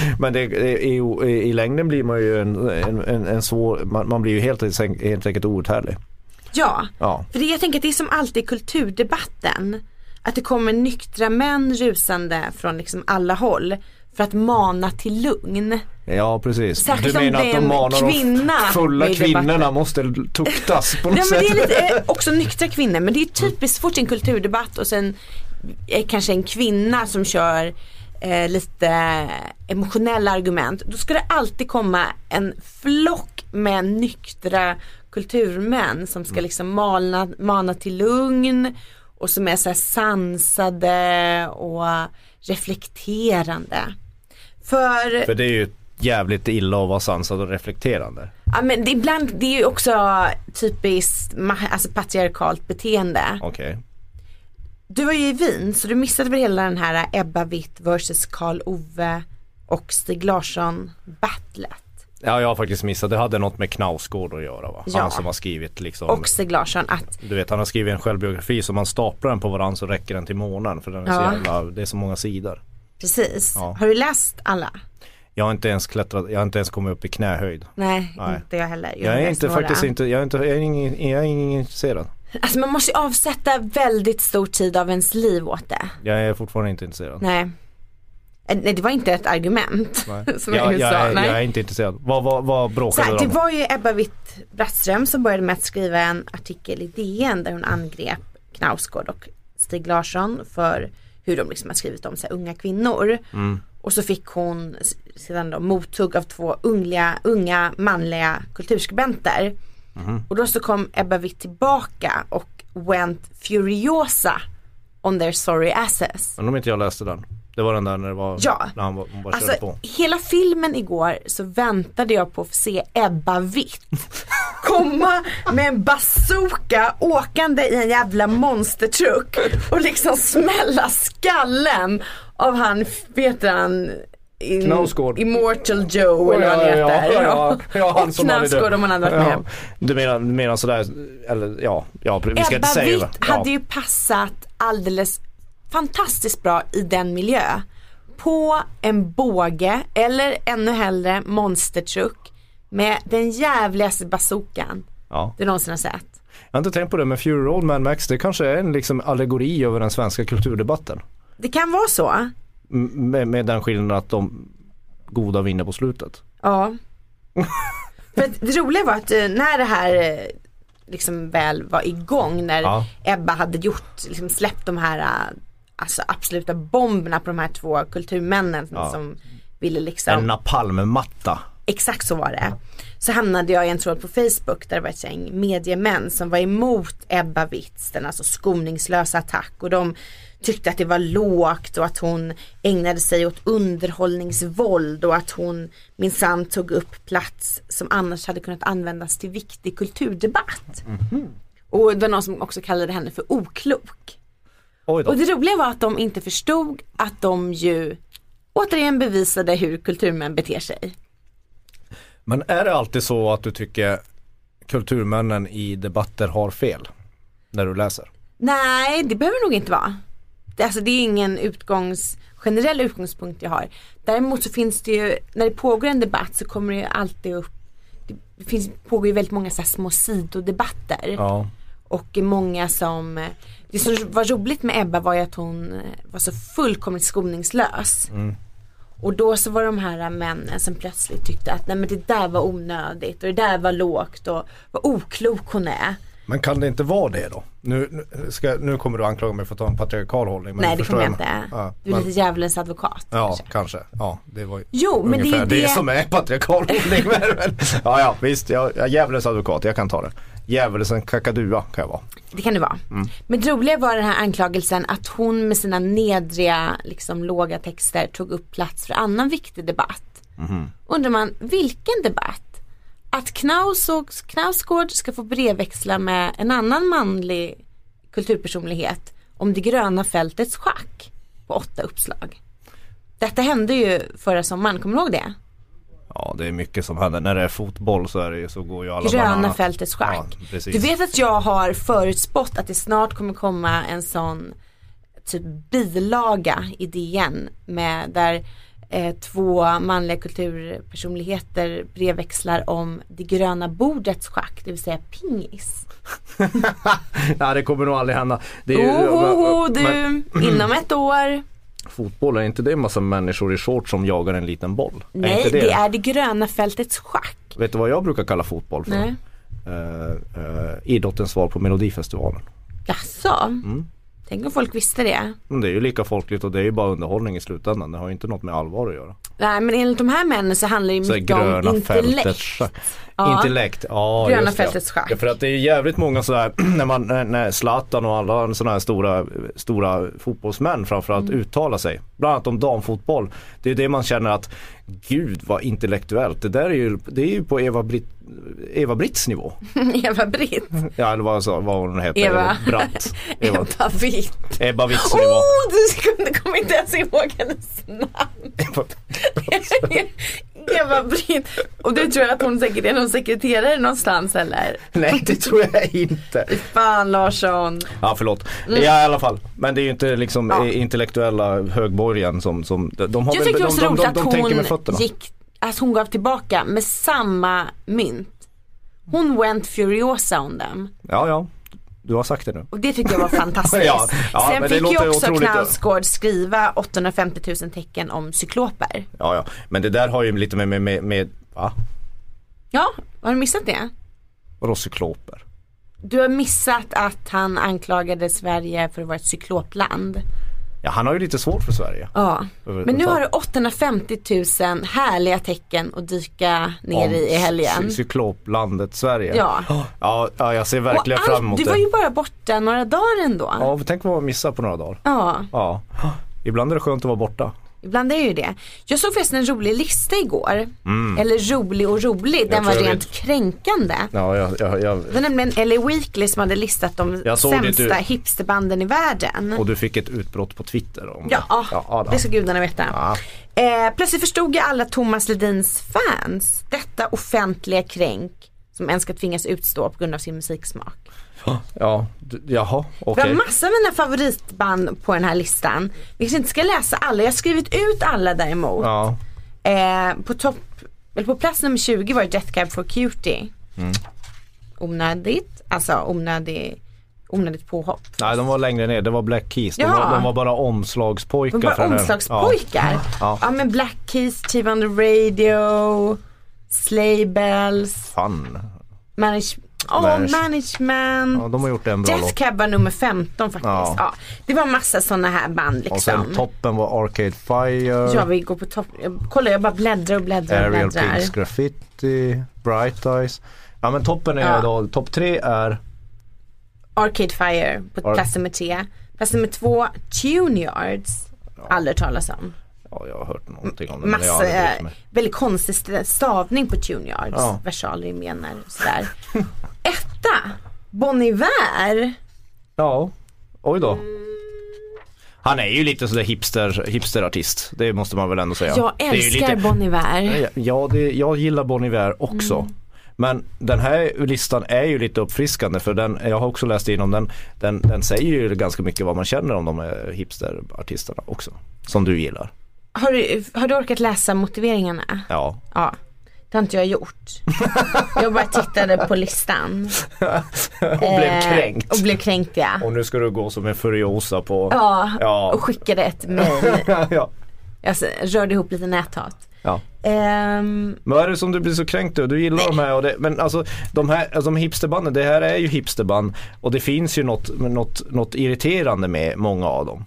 Speaker 3: Men det, det- i, i, i längden blir man ju en, en, en, en svår, man, man blir ju helt, enk- helt enkelt outhärdlig.
Speaker 2: ja.
Speaker 3: Ja.
Speaker 2: För det, jag tänker att det är som alltid i kulturdebatten. Att det kommer nyktra män rusande från liksom alla håll för att mana till lugn.
Speaker 3: Ja precis.
Speaker 2: Särskilt
Speaker 3: du
Speaker 2: om
Speaker 3: menar
Speaker 2: det
Speaker 3: att
Speaker 2: är
Speaker 3: de
Speaker 2: en
Speaker 3: manar
Speaker 2: kvinna
Speaker 3: de fulla
Speaker 2: i debatten.
Speaker 3: kvinnorna måste tuktas på något
Speaker 2: Ja men
Speaker 3: sätt.
Speaker 2: det är lite, eh, också nyktra kvinnor men det är typiskt fort i en kulturdebatt och sen eh, kanske en kvinna som kör eh, lite emotionella argument. Då ska det alltid komma en flock med nyktra kulturmän som
Speaker 3: Mm.
Speaker 2: ska liksom malna, mana till lugn och som är så här sansade och reflekterande. För
Speaker 3: För det är ju jävligt illa att vara sansad och reflekterande.
Speaker 2: Ja men det, ibland, det är ju också typiskt ma- alltså patriarkalt beteende.
Speaker 3: Okej.
Speaker 2: Du var ju i Wien så du missade väl hela den här Ebba Witt versus Karl Ove och Stig Larsson battlet.
Speaker 3: Ja jag har faktiskt missat, det hade något med Knausgård att göra va?
Speaker 2: Ja.
Speaker 3: Han som har skrivit liksom
Speaker 2: Och Stig Larsson att,
Speaker 3: Du vet han har skrivit en självbiografi så man staplar den på varandra så räcker den till månaden för den är
Speaker 2: Ja.
Speaker 3: så jävla, det är så många sidor.
Speaker 2: precis.
Speaker 3: Ja.
Speaker 2: Har du läst alla?
Speaker 3: Jag har inte ens klättrat, jag har inte ens kommit upp i knähöjd.
Speaker 2: Nej,
Speaker 3: Nej.
Speaker 2: inte jag heller. har
Speaker 3: Jag är
Speaker 2: läst
Speaker 3: inte
Speaker 2: några.
Speaker 3: faktiskt inte, jag är inte, jag är ingen, jag är ingen intresserad.
Speaker 2: Alltså man måste ju avsätta väldigt stor tid av ens liv åt det.
Speaker 3: Jag är fortfarande inte intresserad.
Speaker 2: Nej. Eh, Nej det var inte ett argument. Som jag,
Speaker 3: jag,
Speaker 2: nu
Speaker 3: jag,
Speaker 2: sa.
Speaker 3: är,
Speaker 2: Nej.
Speaker 3: jag är inte intresserad. Vad, vad, vad
Speaker 2: Så
Speaker 3: bråkade
Speaker 2: här,
Speaker 3: de
Speaker 2: det
Speaker 3: om?
Speaker 2: var ju Ebba Witt-Brattström som började med att skriva en artikel i DN där hon angrep Knausgård och Stig Larsson för hur de liksom har skrivit om så här, unga kvinnor. Och så fick hon s- sedan då mothugg av två ungliga, unga manliga kulturskribenter. Och då så kom Ebba Witt tillbaka och went furiosa on their sorry asses.
Speaker 3: Men om inte jag läste den. Det var den där när det var,
Speaker 2: Ja.
Speaker 3: när han var- hon bara
Speaker 2: Alltså
Speaker 3: körde på.
Speaker 2: hela filmen igår så väntade jag på att få se Ebba Witt komma med en bazooka åkande i en jävla monstertruck och liksom smälla skallen av han, vet han in,
Speaker 3: Knausgård.
Speaker 2: Immortal Joe eller vad han heter. och Knausgård om han hade varit med.
Speaker 3: Du menar, du menar sådär, eller ja, ja vi ska inte
Speaker 2: Ebba
Speaker 3: säga
Speaker 2: Witt
Speaker 3: ja.
Speaker 2: hade ju passat alldeles fantastiskt bra i den miljö. På en båge eller ännu hellre monstertruck med den jävligaste bazookan
Speaker 3: Ja.
Speaker 2: du någonsin har sett.
Speaker 3: Jag har inte tänkt på det men Fury Old Man Max det kanske är en liksom allegori över den svenska kulturdebatten.
Speaker 2: Det kan vara så.
Speaker 3: M- Med, med den skillnaden att de goda vinner på slutet.
Speaker 2: Ja. För att det roliga var att eh, när det här eh, liksom väl var igång när
Speaker 3: Ja.
Speaker 2: Ebba hade gjort, liksom släppt de här eh, alltså absoluta bomberna på de här två kulturmännen som, som ville liksom
Speaker 3: En napalmmatta.
Speaker 2: Exakt så var det. Så hamnade jag i en tråd på Facebook där det var ett gäng mediemän som var emot Ebba Witz, den alltså skoningslösa attack och de tyckte att det var lågt och att hon ägnade sig åt underhållningsvåld och att hon minsann tog upp plats som annars hade kunnat användas till viktig kulturdebatt. Och det var någon som också kallade henne för oklok.
Speaker 3: Oj då.
Speaker 2: Och det roliga var att de inte förstod att de ju återigen bevisade hur kulturmän beter sig.
Speaker 3: Men är det alltid så att du tycker kulturmännen i debatter har fel? När du läser?
Speaker 2: Nej, det behöver det nog inte vara. Det, alltså, det är ingen utgångs, generell utgångspunkt jag har. Däremot så finns det ju, när det pågår en debatt så kommer det ju alltid upp, det finns, pågår ju väldigt många så här små sidodebatter.
Speaker 3: Ja.
Speaker 2: Och många som, det som var roligt med Ebba var ju att hon eh, var så fullkomligt skoningslös. Och då så var de här männen som plötsligt tyckte att nej men det där var onödigt och det där var lågt och vad oklok hon är.
Speaker 3: Men kan det inte vara det då? Nu, nu ska, jag- nu kommer du anklaga mig för att ta en patriarkal hållning. Men
Speaker 2: nej det
Speaker 3: förstår
Speaker 2: kommer jag
Speaker 3: men-
Speaker 2: inte.
Speaker 3: Ja,
Speaker 2: du är
Speaker 3: men,
Speaker 2: lite djävulens advokat.
Speaker 3: ja
Speaker 2: kanske.
Speaker 3: kanske. Ja, det var ju
Speaker 2: Jo, men det är ju
Speaker 3: ungefär det,
Speaker 2: det-
Speaker 3: som är patriarkal hållning. men- men- ja, ja, visst. Jag, jag är djävulens advokat, jag kan ta det. Djävulens kakadua kan jag vara.
Speaker 2: Det kan det vara.
Speaker 3: Mm.
Speaker 2: Men det roliga var den här anklagelsen att hon med sina nedriga, liksom låga texter tog upp plats för annan viktig debatt.
Speaker 3: Mhm.
Speaker 2: Undrar man, vilken debatt? Att Knaus och Knausgård ska få brevväxla med en annan manlig kulturpersonlighet om det gröna fältets schack. på åtta uppslag. Detta hände ju förra sommaren, kommer du ihåg det?
Speaker 3: Ja det är mycket som händer. När det är fotboll så, är det, ju- så går ju alla
Speaker 2: Gröna
Speaker 3: bananas.
Speaker 2: fältets schack.
Speaker 3: Ja, precis.
Speaker 2: du vet att jag har förutspått att det snart kommer komma en sån typ bilaga i DN med där eh, två manliga kulturpersonligheter brevväxlar om det gröna bordets schack, det vill säga pingis.
Speaker 3: Nej det kommer nog aldrig hända. Det är ju,
Speaker 2: Oh, oh, oh,
Speaker 3: men-
Speaker 2: du, inom ett år.
Speaker 3: Fotboll, är inte det en massa människor i shorts som jagar en liten boll? är
Speaker 2: Nej,
Speaker 3: inte det?
Speaker 2: det är det gröna fältets schack.
Speaker 3: Vet du vad jag brukar kalla fotboll för?
Speaker 2: Nej.
Speaker 3: Eh, eh, idrottens svar på Melodifestivalen.
Speaker 2: Jaså?
Speaker 3: Mm.
Speaker 2: Tänk om folk visste det.
Speaker 3: Men det är ju lika folkligt och det är ju bara underhållning i slutändan. Det har ju inte något med allvar att göra.
Speaker 2: Nej men enligt de här männen så handlar det
Speaker 3: Så här,
Speaker 2: mycket om intellekt. Ja.
Speaker 3: Intellekt, ja
Speaker 2: Gröna
Speaker 3: just det.
Speaker 2: fältets schack.
Speaker 3: Ja, för att det är ju jävligt många sådär, när, man, när, när Zlatan och alla sådana här stora, stora fotbollsmän framförallt
Speaker 2: Mm.
Speaker 3: uttalar sig. Bland annat om damfotboll. Det är ju det man känner att, gud vad intellektuellt. Det där är ju, det är ju på Eva-Britt Eva Britts nivå.
Speaker 2: Eva-Britt.
Speaker 3: Ja eller vad, sa- vad hon heter,
Speaker 2: Eva.
Speaker 3: Eva Bratt. Eva,
Speaker 2: Ebba Witt.
Speaker 3: Ebba Witts
Speaker 2: Åh,
Speaker 3: nivå.
Speaker 2: oh, du kunde komma inte ens ihåg hennes namn. Eva-Britt. Och du tror att hon säkert är någon sekreterare någonstans eller?
Speaker 3: Nej det tror jag inte.
Speaker 2: Fan Larsson.
Speaker 3: Ja förlåt. Ja i alla fall. Men det är ju inte liksom
Speaker 2: Mm. Ja.
Speaker 3: eh, intellektuella högborgen som, som de- de har
Speaker 2: Jag
Speaker 3: väl,
Speaker 2: tyckte
Speaker 3: de,
Speaker 2: det var så
Speaker 3: de,
Speaker 2: roligt
Speaker 3: de, de tänker med
Speaker 2: att
Speaker 3: fötterna.
Speaker 2: hon gick, att hon gav tillbaka med samma mynt. Hon went furiosa on dem.
Speaker 3: Ja ja, du har sagt det nu.
Speaker 2: Och det tyckte jag var fantastiskt.
Speaker 3: Ja, ja,
Speaker 2: Sen
Speaker 3: men det
Speaker 2: fick
Speaker 3: låter
Speaker 2: ju också
Speaker 3: otroligt.
Speaker 2: Knausgård skriva 850 000 tecken om cykloper.
Speaker 3: Ja ja, men det där har ju lite med, med, med, med va?
Speaker 2: Ja, har du missat det?
Speaker 3: Vadå cykloper?
Speaker 2: Du har missat att han anklagade Sverige för att vara ett cyklopland.
Speaker 3: Ja han har ju lite svårt för Sverige.
Speaker 2: Ja. Men nu
Speaker 3: Fan.
Speaker 2: har du 850 000 härliga tecken att dyka ner i i helgen.
Speaker 3: Cy- Cykloplandet Sverige.
Speaker 2: Ja.
Speaker 3: ja. Ja jag ser
Speaker 2: Och
Speaker 3: verkligen
Speaker 2: allt-
Speaker 3: fram emot
Speaker 2: du
Speaker 3: det.
Speaker 2: var ju bara borta några dagar ändå. Ja.
Speaker 3: Ja tänk vad man missar på några dagar. Ja. Ibland är det skönt att vara borta.
Speaker 2: ibland är det ju det. Jag såg förresten en rolig lista igår. Eller rolig och rolig, den
Speaker 3: tror
Speaker 2: var
Speaker 3: Mm. jag
Speaker 2: rent
Speaker 3: vet.
Speaker 2: kränkande.
Speaker 3: Ja jag, jag, jag,
Speaker 2: Det var nämligen LA Weekly som hade listat de
Speaker 3: Jag såg det, typ. du-
Speaker 2: sämsta hipsterbanden i världen.
Speaker 3: och du fick ett utbrott på Twitter om det. ah,
Speaker 2: Ja, ah.
Speaker 3: då.
Speaker 2: det ska gudarna veta.
Speaker 3: Ja.
Speaker 2: Eh, plötsligt förstod jag alla Thomas Ledins fans detta offentliga kränk som en ska tvingas utstå på grund av sin musiksmak.
Speaker 3: Ja, d- jaha,
Speaker 2: Det
Speaker 3: okej.
Speaker 2: var massor av mina favoritband på den här listan. Vi kanske inte ska läsa alla, jag har skrivit ut alla däremot.
Speaker 3: Ja,
Speaker 2: Eh, på topp, eller på plats nummer 20 var det Death Cab for Cutie.
Speaker 3: Mm.
Speaker 2: Onödigt, alltså onödig, onödigt påhopp.
Speaker 3: nej de var längre ner, det var Black Keys. De,
Speaker 2: Ja.
Speaker 3: var, de var bara omslagspojkar.
Speaker 2: De var
Speaker 3: för den här-
Speaker 2: omslagspojkar. Ja.
Speaker 3: Ja.
Speaker 2: men Black Keys, TV on the Radio, Slay Bells,
Speaker 3: Ja, fan.
Speaker 2: manage, oh,
Speaker 3: Manage-
Speaker 2: Management.
Speaker 3: Ja, de har gjort en bra
Speaker 2: Death
Speaker 3: låt.
Speaker 2: Cab var nummer 15 faktiskt. Ja.
Speaker 3: Ja.
Speaker 2: det var massa sådana här band
Speaker 3: Och
Speaker 2: liksom.
Speaker 3: sen toppen var Arcade Fire,
Speaker 2: Jag vill gå på topp. jag- Kolla jag bara bläddrar och bläddrar och
Speaker 3: Aerial
Speaker 2: bläddrar.
Speaker 3: Pigs Graffiti, Bright Eyes. Ja men toppen är
Speaker 2: Ja.
Speaker 3: då, topp tre är,
Speaker 2: Arcade Fire på
Speaker 3: Ar-
Speaker 2: plats nummer 3. Plats nummer 2, Tune Yards. Aldrig talas om.
Speaker 3: ja jag har hört någonting om det men jag har
Speaker 2: Massa,
Speaker 3: aldrig brytt
Speaker 2: eh,
Speaker 3: mig.
Speaker 2: väldigt konstig st- stavning på Tuneyards.
Speaker 3: Ja.
Speaker 2: Versaler, menar och sådär. Etta, Bon Iver.
Speaker 3: Ja, oj då. Han är ju lite sådär hipster, hipsterartist, det måste man väl ändå säga.
Speaker 2: Jag
Speaker 3: Det är ju
Speaker 2: älskar Bon Iver.
Speaker 3: Ja, Ja, det, jag gillar Bon Iver också. Men den här listan är ju lite uppfriskande för den, jag har också läst igenom den, den, den säger ju ganska mycket vad man känner om de här hipsterartisterna också. Som du gillar.
Speaker 2: Har du, har du orkat läsa motiveringarna?
Speaker 3: Ja.
Speaker 2: Ja. Det har inte jag gjort. Jag bara tittade på listan. Eh,
Speaker 3: Och blev kränkt.
Speaker 2: Och blev kränkt ja.
Speaker 3: Och nu ska du gå som en furiosa på...
Speaker 2: Ja,
Speaker 3: Ja.
Speaker 2: och skickade ett mail.
Speaker 3: ja.
Speaker 2: Jag s- rörde ihop lite näthat.
Speaker 3: ja.
Speaker 2: Ehm,
Speaker 3: Men vad är det som du blir så kränkt över? Du gillar de här och det, men alltså de här, alltså de hipsterbanden, det här är ju hipsterband och det finns ju något, något, något irriterande med många av dem.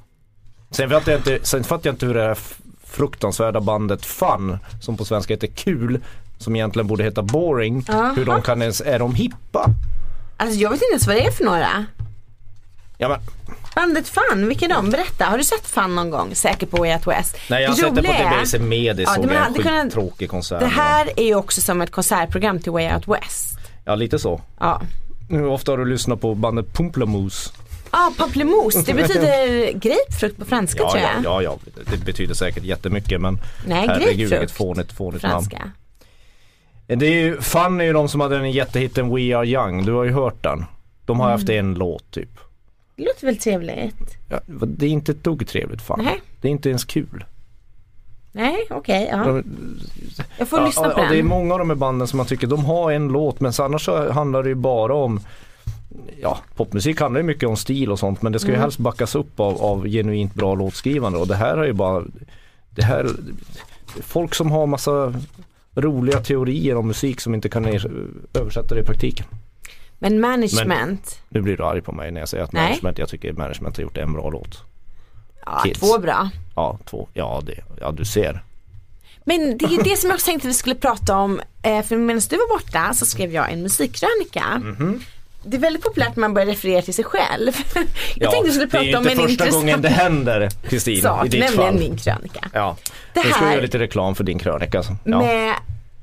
Speaker 3: Sen fattar jag inte, sen fattar jag inte hur det här f- fruktansvärda bandet Fun, som på svenska heter Kul, som egentligen borde heta Boring, hur de kan ens, är de hippa?
Speaker 2: alltså jag vet inte ens vad det är för några.
Speaker 3: Ja, men,
Speaker 2: Bandet Fun, vilka är de? Berätta, har du sett Fun någon gång? Säkert på Way Out West.
Speaker 3: nej jag har
Speaker 2: Det
Speaker 3: sett det på typ
Speaker 2: roliga är-
Speaker 3: TBC Med,
Speaker 2: Ja,
Speaker 3: såg
Speaker 2: men
Speaker 3: jag en
Speaker 2: hade kunnat-
Speaker 3: skittråkig konsert.
Speaker 2: Det här är ju också som ett konsertprogram till Way Out West.
Speaker 3: Ja lite så.
Speaker 2: Ja,
Speaker 3: Hur ofta har du lyssnat på bandet Pumplemoose?
Speaker 2: ja ah, pamplemousse, det betyder grapefrukt på franska
Speaker 3: Ja,
Speaker 2: tror jag.
Speaker 3: ja, ja, ja, det betyder säkert jättemycket men
Speaker 2: Nej,
Speaker 3: herregud vilket
Speaker 2: grapefrukt.
Speaker 3: fånigt, fånigt namn.
Speaker 2: Franska.
Speaker 3: Det är ju, Fun är ju de som hade den jättehitten We Are Young, du har ju hört den. De har haft
Speaker 2: Mm.
Speaker 3: en låt typ.
Speaker 2: Det låter väl trevligt?
Speaker 3: Ja, det är inte ett dugg trevligt Fun.
Speaker 2: Nej.
Speaker 3: Det är inte ens kul.
Speaker 2: Nej, okej, ja.
Speaker 3: De-
Speaker 2: Jag får
Speaker 3: Ja,
Speaker 2: lyssna
Speaker 3: ja,
Speaker 2: på
Speaker 3: ja, Det är
Speaker 2: den.
Speaker 3: många av de här banden som man tycker de har en låt men så annars så handlar det ju bara om Ja, popmusik handlar ju mycket om stil och sånt men det ska
Speaker 2: Mm.
Speaker 3: ju helst backas upp av, av genuint bra låtskrivande och det här är ju bara Det här Folk som har massa roliga teorier om musik som inte kan er- översätta det i praktiken.
Speaker 2: Men management,
Speaker 3: Nu blir du arg på mig när jag säger att
Speaker 2: Nej.
Speaker 3: management, jag tycker management har gjort en bra låt.
Speaker 2: ja,
Speaker 3: kids.
Speaker 2: två bra.
Speaker 3: Ja, två, ja, det, ja du ser.
Speaker 2: Men det är ju det som jag också tänkte vi skulle prata om. Eh, för medan du var borta så skrev jag en musikkrönika.
Speaker 3: Mhm.
Speaker 2: Det är väldigt populärt när man börjar referera till sig själv. jag
Speaker 3: Ja,
Speaker 2: tänkte vi skulle prata om
Speaker 3: Det är
Speaker 2: en
Speaker 3: inte första gången
Speaker 2: intressant
Speaker 3: det händer Kristin,
Speaker 2: sak,
Speaker 3: i ditt
Speaker 2: nämligen
Speaker 3: fall.
Speaker 2: min krönika.
Speaker 3: Ja,
Speaker 2: Det
Speaker 3: nu ska
Speaker 2: här-
Speaker 3: vi göra lite reklam för din krönika. så. Ja,
Speaker 2: Med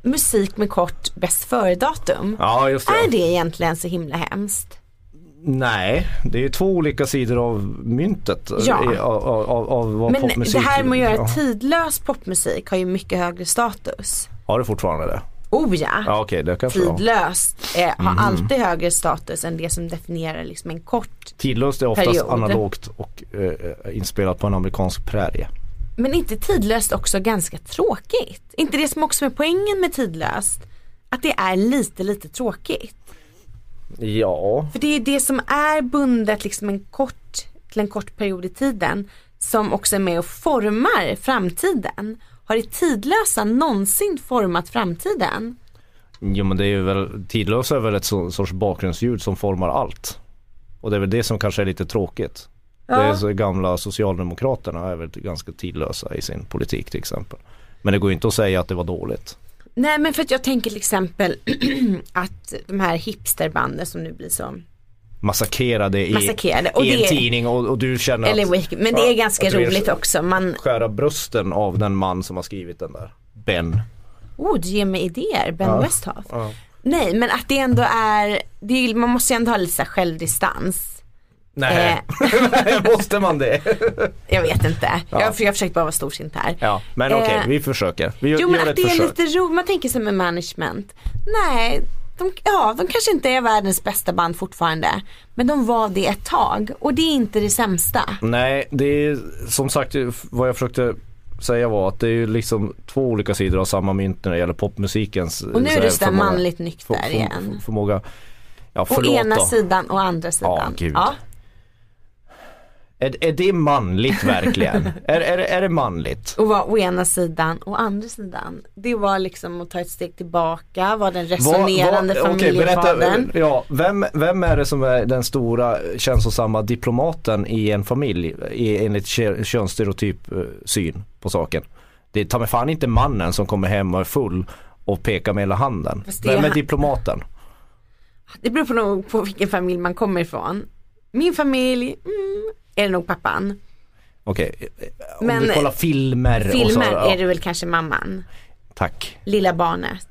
Speaker 2: musik med kort bäst före-datum.
Speaker 3: ja just det.
Speaker 2: Är det egentligen så himla hemskt?
Speaker 3: Nej, det är ju två olika sidor av myntet.
Speaker 2: Ja.
Speaker 3: eh, Av, av, av, av vad
Speaker 2: Men
Speaker 3: popmusik...
Speaker 2: det här med att göra
Speaker 3: ja.
Speaker 2: tidlös popmusik har ju mycket högre status.
Speaker 3: Har du fortfarande det?
Speaker 2: Oh ja.
Speaker 3: Ja Mm. okej, det kanske jag har.
Speaker 2: Tidlöst eh, har alltid högre status än det som definierar liksom en kort.
Speaker 3: Tidlöst är oftast
Speaker 2: Period.
Speaker 3: analogt och eh, inspelat på en amerikansk prärie.
Speaker 2: Men inte tidlöst också ganska tråkigt? Inte det som också är poängen med tidlöst? Att det är lite lite tråkigt.
Speaker 3: Ja,
Speaker 2: För det är ju det som är bundet liksom en kort, till en kort period i tiden som också är med och formar framtiden. Har det tidlösa någonsin format framtiden?
Speaker 3: Jo men det är ju väl, tidlös är väl ett så, sorts bakgrundsljud som formar allt. Och det är väl det som kanske är lite tråkigt. Det är så gamla socialdemokraterna är väl ganska tidlösa i sin politik till exempel. Men det går ju inte att säga att det var dåligt.
Speaker 2: Nej men för att jag tänker till exempel att de här hipsterbanden som nu blir så
Speaker 3: Massakrerade i,
Speaker 2: Massakrerade, och
Speaker 3: i en
Speaker 2: det-
Speaker 3: tidning och, och du känner
Speaker 2: Eller
Speaker 3: att
Speaker 2: Wake, men det är
Speaker 3: Ja,
Speaker 2: ganska
Speaker 3: att du är-
Speaker 2: roligt också. Man,
Speaker 3: skära brösten av den man som har skrivit den där. Ben.
Speaker 2: oh du ger mig idéer, Ben Westhoff. Nej men att det ändå är, det är, ju- man måste ju ändå ha lite så här självdistans. Eh,
Speaker 3: Nej, måste man det?
Speaker 2: Jag vet inte, jag, för jag försöker bara vara storsint här.
Speaker 3: Ja, men okej,
Speaker 2: Eh,
Speaker 3: vi försöker. Vi gör,
Speaker 2: Jo men
Speaker 3: gör
Speaker 2: att
Speaker 3: ett
Speaker 2: det är
Speaker 3: försök.
Speaker 2: lite roligt, man tänker sig med management. Nej, de, ja de kanske inte är världens bästa band fortfarande. Men de var det ett tag och det är inte det sämsta.
Speaker 3: Mm. Nej, det är som sagt vad jag försökte säga var att det är ju liksom två olika sidor av samma mynt när det gäller popmusikens
Speaker 2: Och nu är
Speaker 3: så här,
Speaker 2: du sådär
Speaker 3: förmåga-
Speaker 2: manligt nykter
Speaker 3: för- för-
Speaker 2: igen.
Speaker 3: Förmåga, ja
Speaker 2: Å
Speaker 3: förlåt
Speaker 2: ena
Speaker 3: då.
Speaker 2: sidan och andra sidan.
Speaker 3: gud. Är, är det manligt verkligen? är, är, är det manligt?
Speaker 2: Och vara å ena sidan och andra sidan. Det var liksom att ta ett steg tillbaka, vara den resonerande
Speaker 3: Vad- vad- okej,
Speaker 2: familjefadern.
Speaker 3: ja, vem, vem är det som är den stora känslosamma diplomaten i en familj i, enligt kö- könsstereotyp eh, syn på saken? Det är ta mig fan inte mannen som kommer hem och är full och pekar med hela handen.
Speaker 2: Fast det är
Speaker 3: Vem är
Speaker 2: han-
Speaker 3: diplomaten?
Speaker 2: Det beror på, nog på vilken familj man kommer ifrån. Min familj, mm, är det nog pappan.
Speaker 3: Okej, eh, om
Speaker 2: Men-
Speaker 3: du kollar filmer, och så,
Speaker 2: Filmer
Speaker 3: ja,
Speaker 2: är det väl kanske mamman.
Speaker 3: Tack.
Speaker 2: Lilla barnet.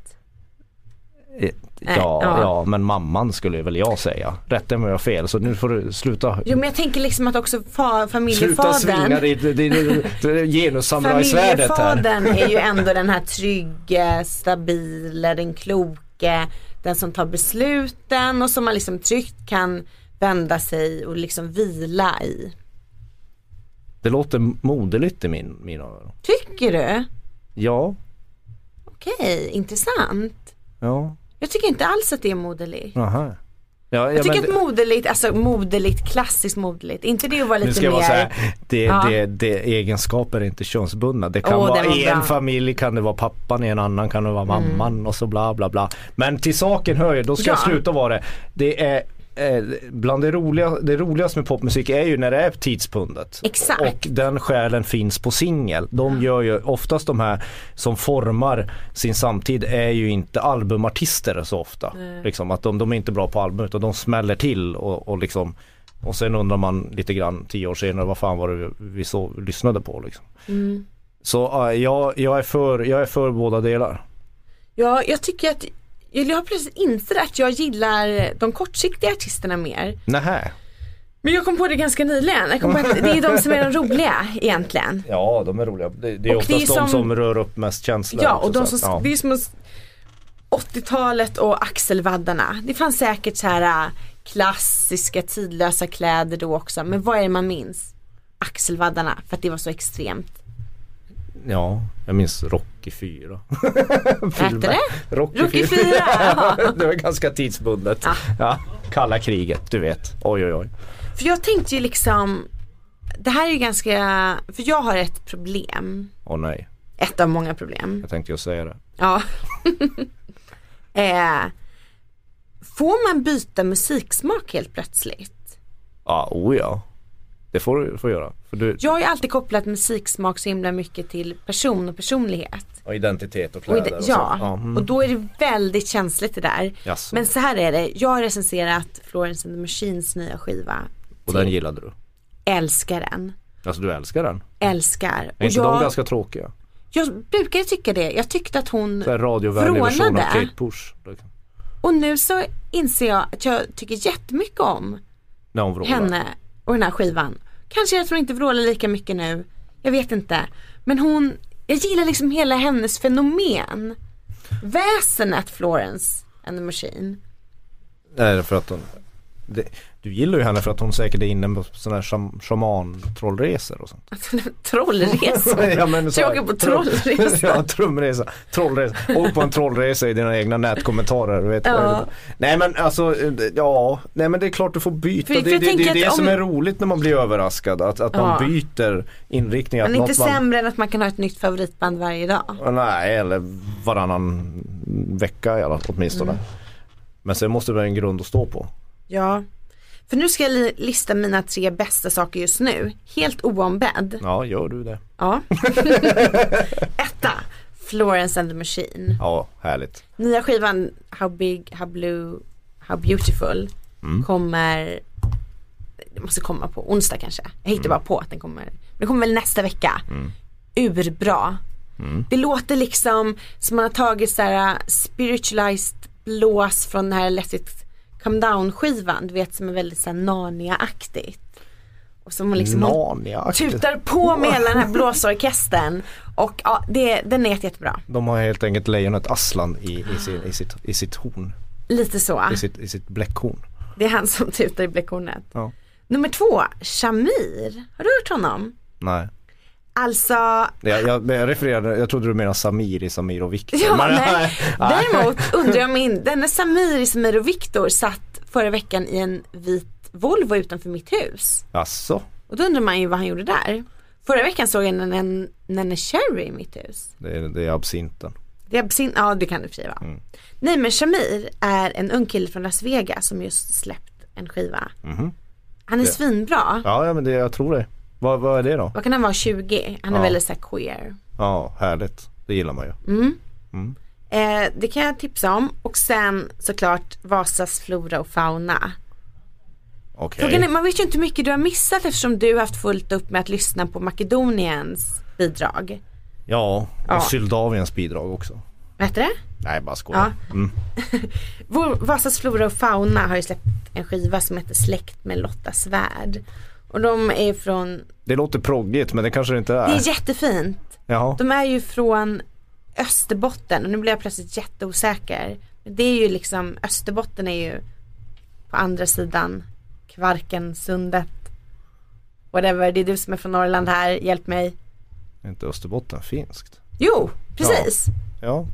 Speaker 3: Eh, Ja,
Speaker 2: ja.
Speaker 3: ja. men mamman skulle väl jag säga. Rätta mig om jag har fel så nu får du sluta.
Speaker 2: Jo men jag tänker liksom att också fa-
Speaker 3: Sluta svinga
Speaker 2: familjefadern.
Speaker 3: ditt genussamurajsvärdet här.
Speaker 2: Familjefadern är ju ändå den här trygge, stabile, den kloke, den som tar besluten och som man liksom tryggt kan vända sig och liksom vila i.
Speaker 3: Det låter moderligt i min, mina öron.
Speaker 2: Tycker du?
Speaker 3: Ja,
Speaker 2: Okej, intressant.
Speaker 3: ja,
Speaker 2: Jag tycker inte alls att det är moderligt.
Speaker 3: aha. Ja,
Speaker 2: Jag tycker
Speaker 3: men,
Speaker 2: att moderligt, alltså moderligt, klassiskt moderligt, inte det att vara
Speaker 3: nu
Speaker 2: lite
Speaker 3: ska jag
Speaker 2: mer
Speaker 3: bara säga, det,
Speaker 2: Ja.
Speaker 3: det, det, egenskaper är inte könsbundna. Det kan
Speaker 2: Åh,
Speaker 3: vara
Speaker 2: den var
Speaker 3: i
Speaker 2: bra. Mm.
Speaker 3: en familj kan det vara pappan, i en annan kan det vara mamman och så bla bla bla. Men till saken hör ju, då ska
Speaker 2: Ja.
Speaker 3: jag sluta vara det. Det är eh, Bland det, roliga, det roligaste med popmusik är ju när det är tidspundet.
Speaker 2: Exakt.
Speaker 3: Och den själen finns på singel. De gör ju oftast de här som formar sin samtid är ju inte albumartister så ofta. Liksom att de, de är inte bra på album utan de smäller till och, och liksom och sen undrar man lite grann tio år senare vad fan var det vi så, lyssnade på liksom.
Speaker 2: Mm.
Speaker 3: Så eh, jag, jag, är för, jag är för båda delar.
Speaker 2: Ja, jag tycker att jag har plötsligt insett att jag gillar de kortsiktiga artisterna mer.
Speaker 3: Nähä.
Speaker 2: Men jag kom på det ganska nyligen. Jag kom på att det är de som är de roliga egentligen.
Speaker 3: Ja, de är roliga. Det, det är
Speaker 2: Och
Speaker 3: oftast
Speaker 2: det är
Speaker 3: de
Speaker 2: som-
Speaker 3: som rör upp mest känslor.
Speaker 2: Ja,
Speaker 3: också,
Speaker 2: och de
Speaker 3: så
Speaker 2: som,
Speaker 3: att- ja.
Speaker 2: det är som att 80-talet och axelvaddarna. Det fanns säkert så här äh, klassiska tidlösa kläder då också. Men vad är det man minns? Axelvaddarna, för att det var så extremt.
Speaker 3: ja, jag minns Rocky 4.
Speaker 2: Hette det?
Speaker 3: Rocky,
Speaker 2: Rocky 4?
Speaker 3: det var ganska tidsbundet.
Speaker 2: Ja.
Speaker 3: Ja, kalla kriget, du vet. Oj, oj, oj.
Speaker 2: För jag tänkte ju liksom, det här är ju ganska, för jag har ett problem.
Speaker 3: Åh nej,
Speaker 2: Ett av många problem.
Speaker 3: jag tänkte ju säga det.
Speaker 2: Ja. eh, får man byta musiksmak helt plötsligt?
Speaker 3: Ja, oh ja. Det får du får göra. För du,
Speaker 2: Jag har ju alltid kopplat musiksmak så himla mycket till person och personlighet.
Speaker 3: Och identitet och
Speaker 2: Och
Speaker 3: kläder
Speaker 2: i
Speaker 3: och,
Speaker 2: det,
Speaker 3: så.
Speaker 2: ja,
Speaker 3: mm.
Speaker 2: och då är det väldigt känsligt det där.
Speaker 3: Jaså.
Speaker 2: Men så här är det, jag har recenserat Florence and the Machines nya skiva.
Speaker 3: och den gillade du.
Speaker 2: Älskar den,
Speaker 3: Alltså du älskar den.
Speaker 2: älskar.
Speaker 3: Är
Speaker 2: Och
Speaker 3: inte de
Speaker 2: jag,
Speaker 3: ganska tråkiga?
Speaker 2: jag brukade tycka det, jag tyckte att hon
Speaker 3: Så här radiovänlig version av
Speaker 2: Vrålade.
Speaker 3: Kate Bush. liksom.
Speaker 2: Och nu så inser jag att jag tycker jättemycket om
Speaker 3: När hon vrålar.
Speaker 2: henne och den här skivan. Kanske jag tror inte vrålar lika mycket nu. Jag vet inte. Men hon, jag gillar liksom hela hennes fenomen. Väsenet Florence and the Machine.
Speaker 3: Nej, för att hon... Det, du gillar ju henne för att hon säkert är inne på sådana här sham, shaman-trollresor och sånt.
Speaker 2: Trollresa.
Speaker 3: Ja, men
Speaker 2: Så jag åker på trollresa.
Speaker 3: ja, trumresa. Trollresa. Och på en trollresa i dina egna nätkommentarer. Vet du
Speaker 2: Ja.
Speaker 3: vad det- Nej men alltså, eh, ja. Nej men det är klart du får byta.
Speaker 2: För-
Speaker 3: det
Speaker 2: för
Speaker 3: det,
Speaker 2: jag
Speaker 3: det är
Speaker 2: tänker
Speaker 3: det
Speaker 2: att om-
Speaker 3: som är roligt när man blir överraskad. Att, att man
Speaker 2: Ja.
Speaker 3: byter inriktning. Att
Speaker 2: Men inte
Speaker 3: något man...
Speaker 2: sämre än att man kan ha ett nytt favoritband varje dag.
Speaker 3: Nej, eller varannan vecka i alla fall åtminstone.
Speaker 2: Mm.
Speaker 3: Men sen måste det vara en grund att stå på.
Speaker 2: Ja. För nu ska jag li- lista mina tre bästa saker just nu. Helt oombedd.
Speaker 3: Ja, gör du det?
Speaker 2: Ja. Etta. Florence and the Machine.
Speaker 3: Ja, härligt.
Speaker 2: Nya skivan How Big, How Blue, How Beautiful kommer, det måste komma på onsdag kanske. Jag hittar bara på att den kommer, men den kommer väl nästa vecka. Urbra. Det låter liksom som man har tagit så här äh, spiritualized blås från den här Let It Come Down skivan, du vet som är väldigt så här Narnia-aktigt. Och som hon liksom hon
Speaker 3: Narnia.
Speaker 2: tutar på med hela den här blåsorkestern och ja, det, den är jätte- jättebra.
Speaker 3: De har helt enkelt lejonet Aslan i, i, sin, i, sitt, i sitt horn,
Speaker 2: Lite så.
Speaker 3: i sitt, i sitt bläckhorn.
Speaker 2: Det är han som tutar i bläckhornet.
Speaker 3: Ja.
Speaker 2: Nummer två, Shamir. Har du hört honom?
Speaker 3: Nej,
Speaker 2: Alltså,
Speaker 3: jag, jag, men jag refererade, jag trodde du menade Samir i Samir och Viktor.
Speaker 2: ja,
Speaker 3: Men-
Speaker 2: nej. Däremot undrar jag om in, denne Samir, Samir och Viktor satt förra veckan i en vit Volvo utanför mitt hus.
Speaker 3: Jaså,
Speaker 2: Och då undrar man ju vad han gjorde där. Förra veckan såg jag en- en Nene Cherry i mitt hus.
Speaker 3: det är, det är absinten.
Speaker 2: Det är absin- ja det kan du skriva.
Speaker 3: Mm.
Speaker 2: Nej men Shamir är en ung kille från Las Vegas som just släppt en skiva.
Speaker 3: Mhm.
Speaker 2: Han är svinbra.
Speaker 3: Ja, ja men det, jag tror det. Vad, vad är det då?
Speaker 2: Vad kan han vara, 20? Han är
Speaker 3: Ja.
Speaker 2: väldigt såhär queer.
Speaker 3: Ja, härligt. Det gillar man ju.
Speaker 2: Mm. Eh, det kan jag tipsa om. Och sen såklart Vasas flora och fauna.
Speaker 3: Okej.
Speaker 2: Frågan är, man vet ju inte hur mycket du har missat eftersom du har haft fullt upp med att lyssna på Makedoniens bidrag.
Speaker 3: Ja, och
Speaker 2: Ja.
Speaker 3: Syldaviens bidrag också.
Speaker 2: Vad heter det?
Speaker 3: Nej, bara skoja.
Speaker 2: Vår, Vasas flora och fauna har ju släppt en skiva som heter Släkt med Lotta Svärd. Och de är från,
Speaker 3: Det låter proggigt men det kanske det inte är.
Speaker 2: det är jättefint.
Speaker 3: Jaha.
Speaker 2: De är ju från Österbotten och nu blir jag plötsligt jätteosäker. Men det är ju liksom, Österbotten är ju på andra sidan Kvarken, sundet. Whatever, det är du som är från Norrland här, hjälp mig.
Speaker 3: Inte Österbotten, finskt.
Speaker 2: Jo, precis.
Speaker 3: Ja,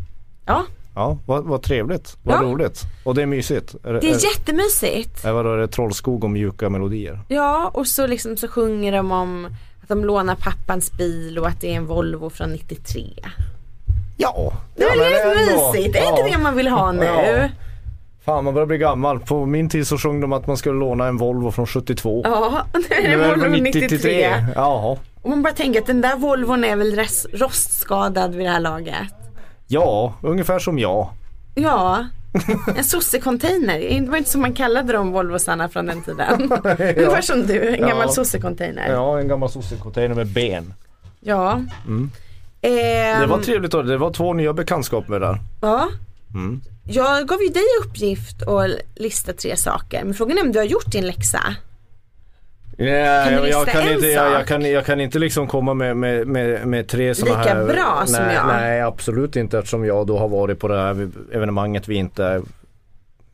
Speaker 2: Ja,
Speaker 3: ja. vad, vad trevligt. Vad
Speaker 2: Ja.
Speaker 3: roligt. Och det är mysigt. Är,
Speaker 2: det är
Speaker 3: är,
Speaker 2: jättemysigt.
Speaker 3: är, vadå, är det trollskog och mjuka melodier?
Speaker 2: Ja, och så liksom så sjunger de om att de lånar pappans bil och att det är en Volvo från 93.
Speaker 3: Ja.
Speaker 2: Det är
Speaker 3: men
Speaker 2: väldigt
Speaker 3: ändå.
Speaker 2: mysigt, är
Speaker 3: Ja.
Speaker 2: inte det man vill ha nu?
Speaker 3: Ja. Fan man börjar bli gammal. På min tid så sjöng de att man skulle låna en Volvo från 72.
Speaker 2: Ja, nu är
Speaker 3: Nu
Speaker 2: det
Speaker 3: är det
Speaker 2: Volvo
Speaker 3: från
Speaker 2: 93.
Speaker 3: 93. Jaha.
Speaker 2: Och man bara tänker att den där Volvon är väl res- rostskadad vid det här laget.
Speaker 3: Ja, ungefär som jag.
Speaker 2: Ja, en sossecontainer. Det var inte som man kallade de Volvosarna från den tiden. Ungefär som du, en gammal
Speaker 3: Ja.
Speaker 2: sossecontainer. Ja.
Speaker 3: Ja, en gammal sossecontainer med ben.
Speaker 2: Ehm,
Speaker 3: Mm. Det var trevligt då. Det var två nya bekantskaper där.
Speaker 2: ja.
Speaker 3: Mm.
Speaker 2: Jag gav ju dig uppgift att lista tre saker. Men frågan är om du har gjort din läxa.
Speaker 3: Yeah,
Speaker 2: Kan du
Speaker 3: jag, jag,
Speaker 2: lista
Speaker 3: kan
Speaker 2: en
Speaker 3: inte, jag, jag,
Speaker 2: sak?
Speaker 3: kan, jag kan inte liksom komma med, med, med, med tre sådana
Speaker 2: Lika
Speaker 3: här.
Speaker 2: bra som
Speaker 3: nej,
Speaker 2: jag.
Speaker 3: Nej, absolut inte eftersom jag då har varit på det här evenemanget vi inte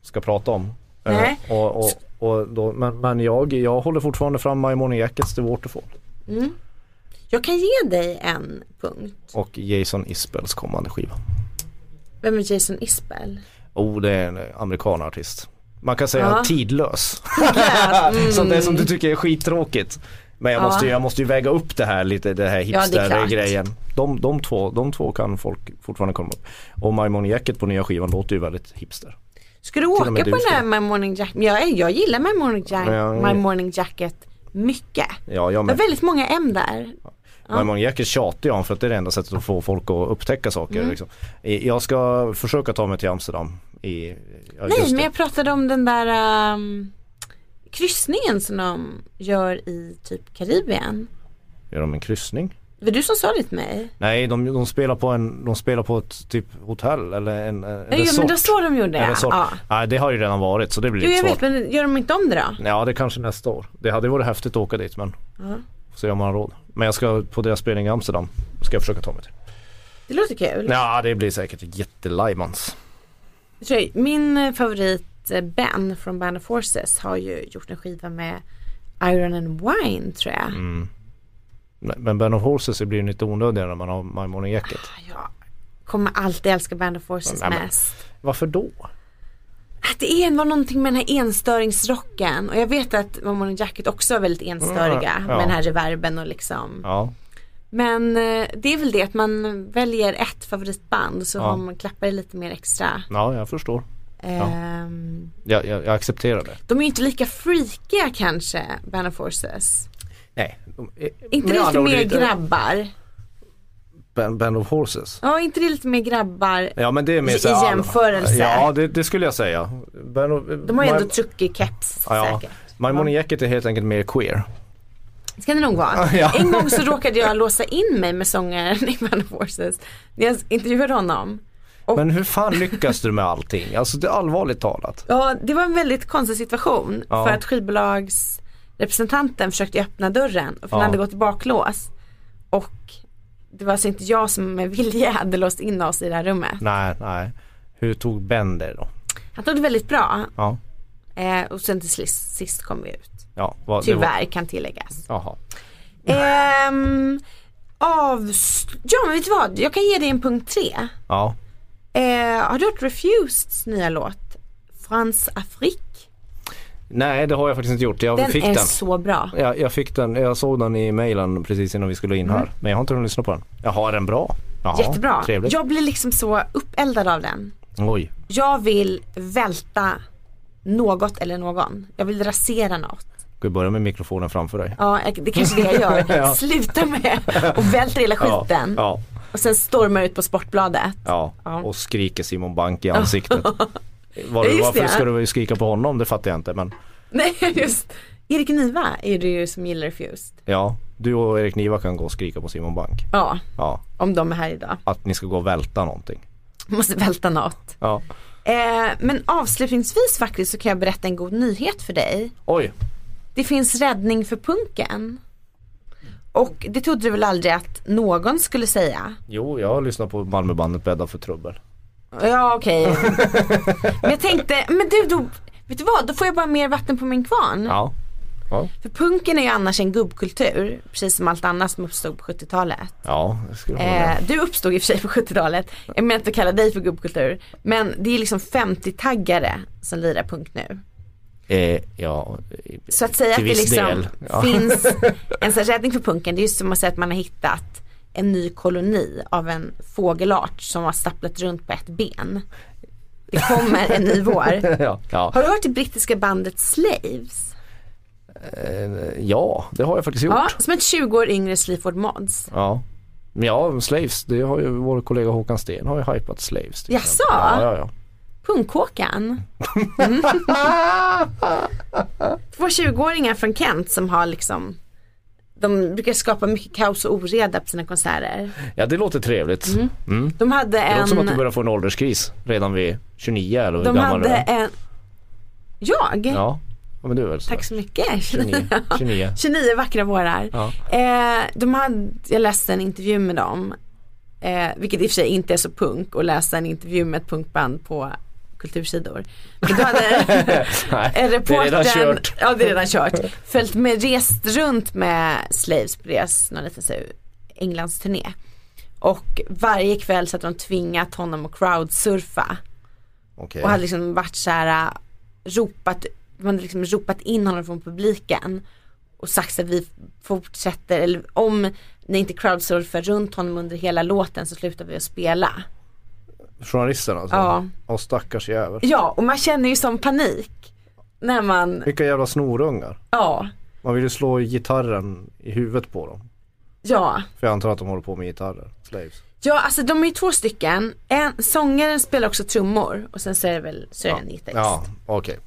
Speaker 3: ska prata om.
Speaker 2: Nej.
Speaker 3: Eh, Och, och, och då, men men jag, jag håller fortfarande fram My Morning Jackets The Waterfall
Speaker 2: Jag kan ge dig en punkt.
Speaker 3: och Jason Isbells kommande skiva.
Speaker 2: Vem är Jason Isbell?
Speaker 3: Oh, det är en amerikan artist. Man kan säga
Speaker 2: Ja. mm.
Speaker 3: tidlös. Så det som du tycker är skittråkigt. Men jag måste, ju- jag måste ju väga upp det här lite, det här
Speaker 2: Ja, det är klart.
Speaker 3: hipster-grejen. de, de, två, de två kan folk fortfarande komma upp. Och My Morning Jacket på nya skivan låter ju väldigt hipster.
Speaker 2: Ska du
Speaker 3: och
Speaker 2: åka
Speaker 3: med
Speaker 2: på
Speaker 3: du
Speaker 2: den här My Morning Jacket? Jag, är- jag gillar My Morning, Jack,
Speaker 3: Ja, ja.
Speaker 2: My Morning Jacket mycket.
Speaker 3: Ja, jag
Speaker 2: Det var
Speaker 3: med.
Speaker 2: väldigt många M där.
Speaker 3: My Morning Jacket tjatar jag om för att det är det enda sättet att få folk att upptäcka saker.
Speaker 2: Mm.
Speaker 3: Liksom. Eh, Jag ska försöka ta mig till Amsterdam i
Speaker 2: Nej
Speaker 3: augusti.
Speaker 2: men jag pratade om den där ehm, kryssningen som de gör i typ Karibien.
Speaker 3: Gör de en kryssning?
Speaker 2: Det var du som sa det till mig.
Speaker 3: Nej, de, de, spelar på en, de spelar på ett typ hotell eller en, en
Speaker 2: Nej, jo, men det var så de gjorde
Speaker 3: En
Speaker 2: det.
Speaker 3: resort.
Speaker 2: Ja.
Speaker 3: Nej det har ju redan varit så det blir
Speaker 2: Jo
Speaker 3: lite
Speaker 2: jag
Speaker 3: svårt.
Speaker 2: vet men gör de inte om det då?
Speaker 3: Ja det kanske nästa år. Det hade varit häftigt att åka dit men får se om man har råd. Men jag ska på deras spelning i Amsterdam. Ska jag försöka ta mig till.
Speaker 2: Det låter kul.
Speaker 3: Ja det blir säkert jättelajmans.
Speaker 2: Jag tror- Min eh, favorit eh, Ben från Band of Forces har ju gjort en skiva med Iron and Wine tror jag.
Speaker 3: Mm. Nej, Men Band of Horses det blir ju lite onödigare när man har My Morning Jacket.
Speaker 2: Jag kommer alltid älska Band of Forces
Speaker 3: Ja, nej, men-
Speaker 2: mest.
Speaker 3: Varför då?
Speaker 2: Att det är- var någonting med den här enstöringsrocken och jag vet att Mormon Jacket också är väldigt enstöriga
Speaker 3: Mm, ja.
Speaker 2: med den här reverben och liksom.
Speaker 3: Ja.
Speaker 2: Men eh, det är väl det att man väljer ett favoritband så har man klappar det lite mer extra.
Speaker 3: ja jag förstår.
Speaker 2: Ehm,
Speaker 3: Jag, jag, jag accepterar det.
Speaker 2: de är ju inte lika freakiga kanske, Band of Forces.
Speaker 3: Nej. de- eh,
Speaker 2: Inte
Speaker 3: med
Speaker 2: det lite
Speaker 3: andra ord,
Speaker 2: mer
Speaker 3: det är-
Speaker 2: grabbar?
Speaker 3: Band, Band of Horses.
Speaker 2: Ja, inte det lite mer grabbar?
Speaker 3: Ja men det är mer
Speaker 2: I- i
Speaker 3: så här-
Speaker 2: jämförelse.
Speaker 3: Ja det, det skulle jag säga. Band of,
Speaker 2: De har ju
Speaker 3: My-
Speaker 2: ändå truckig keps
Speaker 3: Ja,
Speaker 2: säkert.
Speaker 3: My Morning Jacket är helt enkelt mer queer.
Speaker 2: ska det nog vara.
Speaker 3: Ja.
Speaker 2: En gång så råkade jag låsa in mig med sångaren i Band of Forces när jag intervjuade honom.
Speaker 3: Men hur fan lyckas du med allting? Alltså det är allvarligt talat.
Speaker 2: Ja, det var en väldigt konstig situation
Speaker 3: Ja.
Speaker 2: för att skivbolagsrepresentanten försökte öppna dörren för den
Speaker 3: Ja.
Speaker 2: hade gått i baklås. Och det var alltså inte jag som med vilja hade låst in oss i det här rummet.
Speaker 3: Nej, nej. Hur tog Ben det då?
Speaker 2: Han tog det väldigt bra
Speaker 3: Ja,
Speaker 2: eh, och sen till sist, sist kom vi ut.
Speaker 3: ja. Vad, det var-
Speaker 2: Tyvärr kan tilläggas.
Speaker 3: Jaha.
Speaker 2: Ehm, avs- ja men vet du vad, jag kan ge dig en punkt tre.
Speaker 3: Ja.
Speaker 2: Eh, har du hört Refuseds nya låt? Frans Afrik.
Speaker 3: Nej, det har jag faktiskt inte gjort. Jag
Speaker 2: Den
Speaker 3: fick
Speaker 2: är
Speaker 3: den.
Speaker 2: så bra.
Speaker 3: Jag, jag fick den, jag såg den i mailen precis innan vi skulle in här. Men jag har inte hunnit lyssna på den. Jaha, är den bra? Jaha,
Speaker 2: Mm. Jättebra.
Speaker 3: Trevligt.
Speaker 2: Jag blir liksom så uppeldad av den.
Speaker 3: Oj.
Speaker 2: Jag vill välta något eller någon. Jag vill rasera något.
Speaker 3: Ska vi börja med mikrofonen framför dig?
Speaker 2: Ja, jag- det är kanske det jag gör.
Speaker 3: Ja.
Speaker 2: Sluta med och välta hela skiten.
Speaker 3: Ja,
Speaker 2: Och sen stormar jag ut på Sportbladet.
Speaker 3: ja,
Speaker 2: Ja.
Speaker 3: ja. Och skriker Simon Bank i ansiktet. Var,
Speaker 2: Ja, just
Speaker 3: varför
Speaker 2: det.
Speaker 3: ska du skrika på honom? Det fattar jag inte. Men
Speaker 2: Nej, just. Erik Niva är det ju som gillar Refused.
Speaker 3: ja, du och Erik Niva kan gå och skrika på Simon Bank.
Speaker 2: Ja,
Speaker 3: Ja,
Speaker 2: om de är här idag.
Speaker 3: att ni ska gå och välta någonting.
Speaker 2: Måste välta något.
Speaker 3: Ja.
Speaker 2: Eh, men avslutningsvis faktiskt så kan jag berätta en god nyhet för dig.
Speaker 3: Oj,
Speaker 2: Det finns räddning för punken. Och det trodde du väl aldrig att någon skulle säga?
Speaker 3: jo jag har lyssnat på Malmöbandet Bädda för
Speaker 2: Mm.
Speaker 3: trubbel.
Speaker 2: Ja okej. men jag tänkte, men du då, vet du vad? Då får jag bara mer vatten på min kvarn.
Speaker 3: Ja.
Speaker 2: För punken är ju annars en gubbkultur, precis som allt annat som uppstod på 70-talet.
Speaker 3: Ja, det skulle jag hålla
Speaker 2: Eh, du uppstod i och för sig på 70-talet. Jag menar inte att kalla dig för gubbkultur. Men det är liksom 50-taggare som lirar punk nu.
Speaker 3: med. eh, Ja, eh,
Speaker 2: Så att säga
Speaker 3: Till
Speaker 2: att det
Speaker 3: viss
Speaker 2: liksom
Speaker 3: del, ja.
Speaker 2: finns en sån här räddning för punken. Det är ju som att säga att man har hittat en ny koloni av en fågelart som har stapplat runt på ett ben. Det kommer en ny vår.
Speaker 3: ja. Ja.
Speaker 2: Har du hört det brittiska bandet Slaves?
Speaker 3: ja, det har jag faktiskt gjort.
Speaker 2: Ja,
Speaker 3: Ja.
Speaker 2: som ett 20 år yngre Sleaford Mods.
Speaker 3: Men ja, Slaves, det har ju vår kollega Håkan Sten har ju hypat Slaves. till
Speaker 2: Jaså?
Speaker 3: exempel. Ja, ja, ja.
Speaker 2: Punkhåkan. Två 20-åringar från Kent som har liksom de brukar skapa mycket kaos och oreda på sina konserter.
Speaker 3: ja, det låter trevligt.
Speaker 2: Mm. De hade
Speaker 3: Det
Speaker 2: en...
Speaker 3: låter som att du börjar få en ålderskris redan vid 29 eller hur
Speaker 2: De
Speaker 3: gammal
Speaker 2: hade
Speaker 3: du är.
Speaker 2: en... Jag?
Speaker 3: Ja, Ja, men du är väl
Speaker 2: Tack så mycket.
Speaker 3: 29. 29.
Speaker 2: 29 vackra vårar.
Speaker 3: Ja.
Speaker 2: Eh, de hade, jag läste en intervju med dem, eh, vilket i och för sig inte är så punk att läsa en intervju med ett punkband på kultursidor. Men då hade
Speaker 3: Nej,
Speaker 2: eh, reportern,
Speaker 3: det är redan kört.
Speaker 2: ja det är redan kört, följt med, rest runt med Slaves på deras, någon liten så här Englands turné. Och varje kväll så hade de tvingat honom att crowdsurfa.
Speaker 3: Okej.
Speaker 2: Och hade liksom varit så här äh, ropat, man hade liksom ropat in honom från publiken. Och sagt att vi fortsätter, eller om ni inte crowdsurfar runt honom under hela låten så slutar vi att spela.
Speaker 3: Journalisterna alltså.
Speaker 2: Ja.
Speaker 3: Och stackars jävel.
Speaker 2: Ja, och man känner ju som panik. När man,
Speaker 3: Vilka jävla snorungar.
Speaker 2: ja,
Speaker 3: Man vill ju slå gitarren i huvudet på dem.
Speaker 2: ja.
Speaker 3: För jag antar att de håller på med gitarrer. Slaves.
Speaker 2: Ja, alltså de är ju två stycken. En, sångaren spelar också trummor och sen så är det väl, så är det en gitarrist.
Speaker 3: Ja, okej.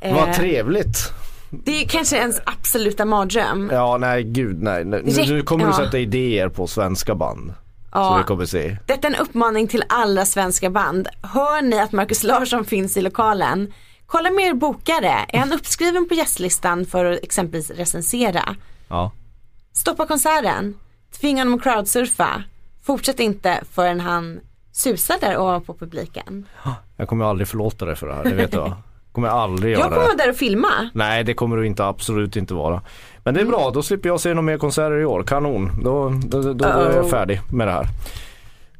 Speaker 2: Eh,
Speaker 3: Vad trevligt.
Speaker 2: Det är ju kanske ens absoluta mardröm.
Speaker 3: Ja, nej gud nej. Nu,
Speaker 2: Räck-
Speaker 3: nu kommer du
Speaker 2: ja.
Speaker 3: sätta idéer på svenska band. Så vi kommer se.
Speaker 2: Detta är en uppmaning till alla svenska band. Hör ni att Marcus Larsson finns i lokalen? Kolla med er bokare. Är han uppskriven på gästlistan för att exempelvis recensera?
Speaker 3: Ja.
Speaker 2: Stoppa konserten. Tvinga honom att crowdsurfa. Fortsätt inte förrän han susar där ovanpå publiken.
Speaker 3: Jag kommer aldrig förlåta dig för det här, det vet du va? Kommer jag aldrig
Speaker 2: Jag
Speaker 3: göra.
Speaker 2: kommer vara där och filma.
Speaker 3: Nej det kommer du inte, absolut inte vara. Men det är
Speaker 2: Mm.
Speaker 3: bra, då slipper jag se några mer konserter i år. Kanon, då, då, då, då är jag
Speaker 2: Uh-oh.
Speaker 3: färdig med det här.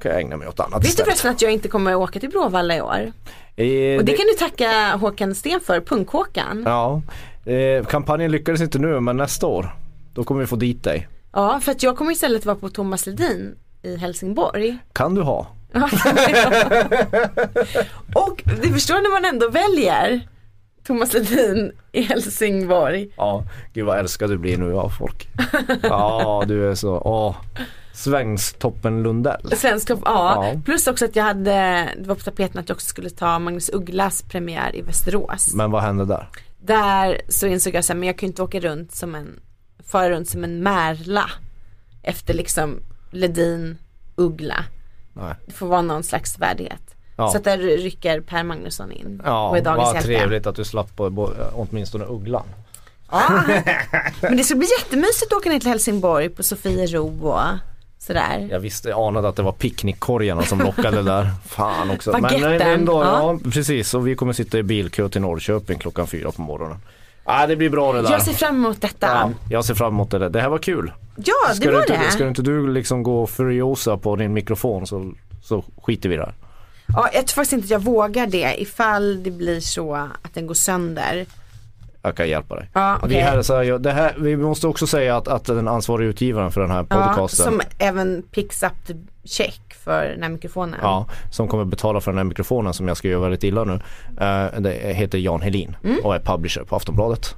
Speaker 3: kan jag ägna mig åt annat
Speaker 2: Oh. Vet du
Speaker 3: istället.
Speaker 2: förresten att jag inte kommer att åka till Bråvalla i år?
Speaker 3: Eh,
Speaker 2: Och det
Speaker 3: det-
Speaker 2: kan du tacka Håkan Sten för, Punkhåkan.
Speaker 3: Ja, eh, kampanjen lyckades inte nu men nästa år. Då kommer vi få dit dig.
Speaker 2: Ja, för att jag kommer istället vara på Thomas Ledin i Helsingborg.
Speaker 3: Kan du ha?
Speaker 2: Och du förstår när man ändå väljer Thomas Ledin i Helsingborg.
Speaker 3: Ja, gud vad älskad du blir nu av folk. Ja, du är så, åh. Svängstoppen Lundell.
Speaker 2: Svensk topp ja.
Speaker 3: Ja.
Speaker 2: Plus också att jag hade, det var på tapeten att jag också skulle ta Magnus Ugglas premiär i Västerås.
Speaker 3: Men vad hände där?
Speaker 2: Där så insåg jag så här, men jag kan ju inte åka runt som en, fara runt som en märla. Efter liksom Ledin, Uggla.
Speaker 3: Nej.
Speaker 2: Det får vara någon slags värdighet.
Speaker 3: Ja.
Speaker 2: Så att där rycker Per Magnusson in och
Speaker 3: Ja,
Speaker 2: är dagens
Speaker 3: vad
Speaker 2: hjälte.
Speaker 3: trevligt att du slapp på, på, åtminstone ugglan.
Speaker 2: Ja. Men det ska bli jättemysigt att åka ner till Helsingborg på Sofiero och sådär.
Speaker 3: Jag visste, jag anade att det var picknickkorgarna som lockade där. Fan också. Men eh,
Speaker 2: Baguetten,
Speaker 3: ändå, ja.
Speaker 2: ja.
Speaker 3: precis. Och vi kommer sitta i bilkö till Norrköping klockan fyra på morgonen. Ja, det blir bra det där.
Speaker 2: Jag ser fram emot detta.
Speaker 3: ja,
Speaker 2: Ja,
Speaker 3: jag ser fram emot det där. Det här var kul.
Speaker 2: det
Speaker 3: Ska, du
Speaker 2: var
Speaker 3: inte,
Speaker 2: det.
Speaker 3: ska inte du liksom gå furiosa på din mikrofon så, så skiter vi där.
Speaker 2: Ja, jag tror faktiskt inte att jag vågar det ifall det blir så att den går sönder.
Speaker 3: Jag kan hjälpa dig.
Speaker 2: Ja, okej.
Speaker 3: vi, här, så här, det här, vi måste också säga att, att den ansvariga utgivaren för den här
Speaker 2: Ja,
Speaker 3: podcasten
Speaker 2: som även picks up the check för den här mikrofonen.
Speaker 3: Ja, som kommer betala för den här mikrofonen som jag ska göra väldigt illa nu. Eh, det heter Jan Helin och är publisher på Aftonbladet.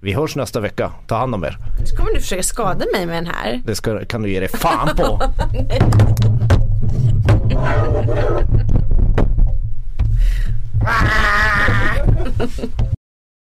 Speaker 3: Vi hörs nästa vecka, ta hand om er.
Speaker 2: Så kommer du försöka skada mig med den här.
Speaker 3: Det ska, kan du ge dig fan på.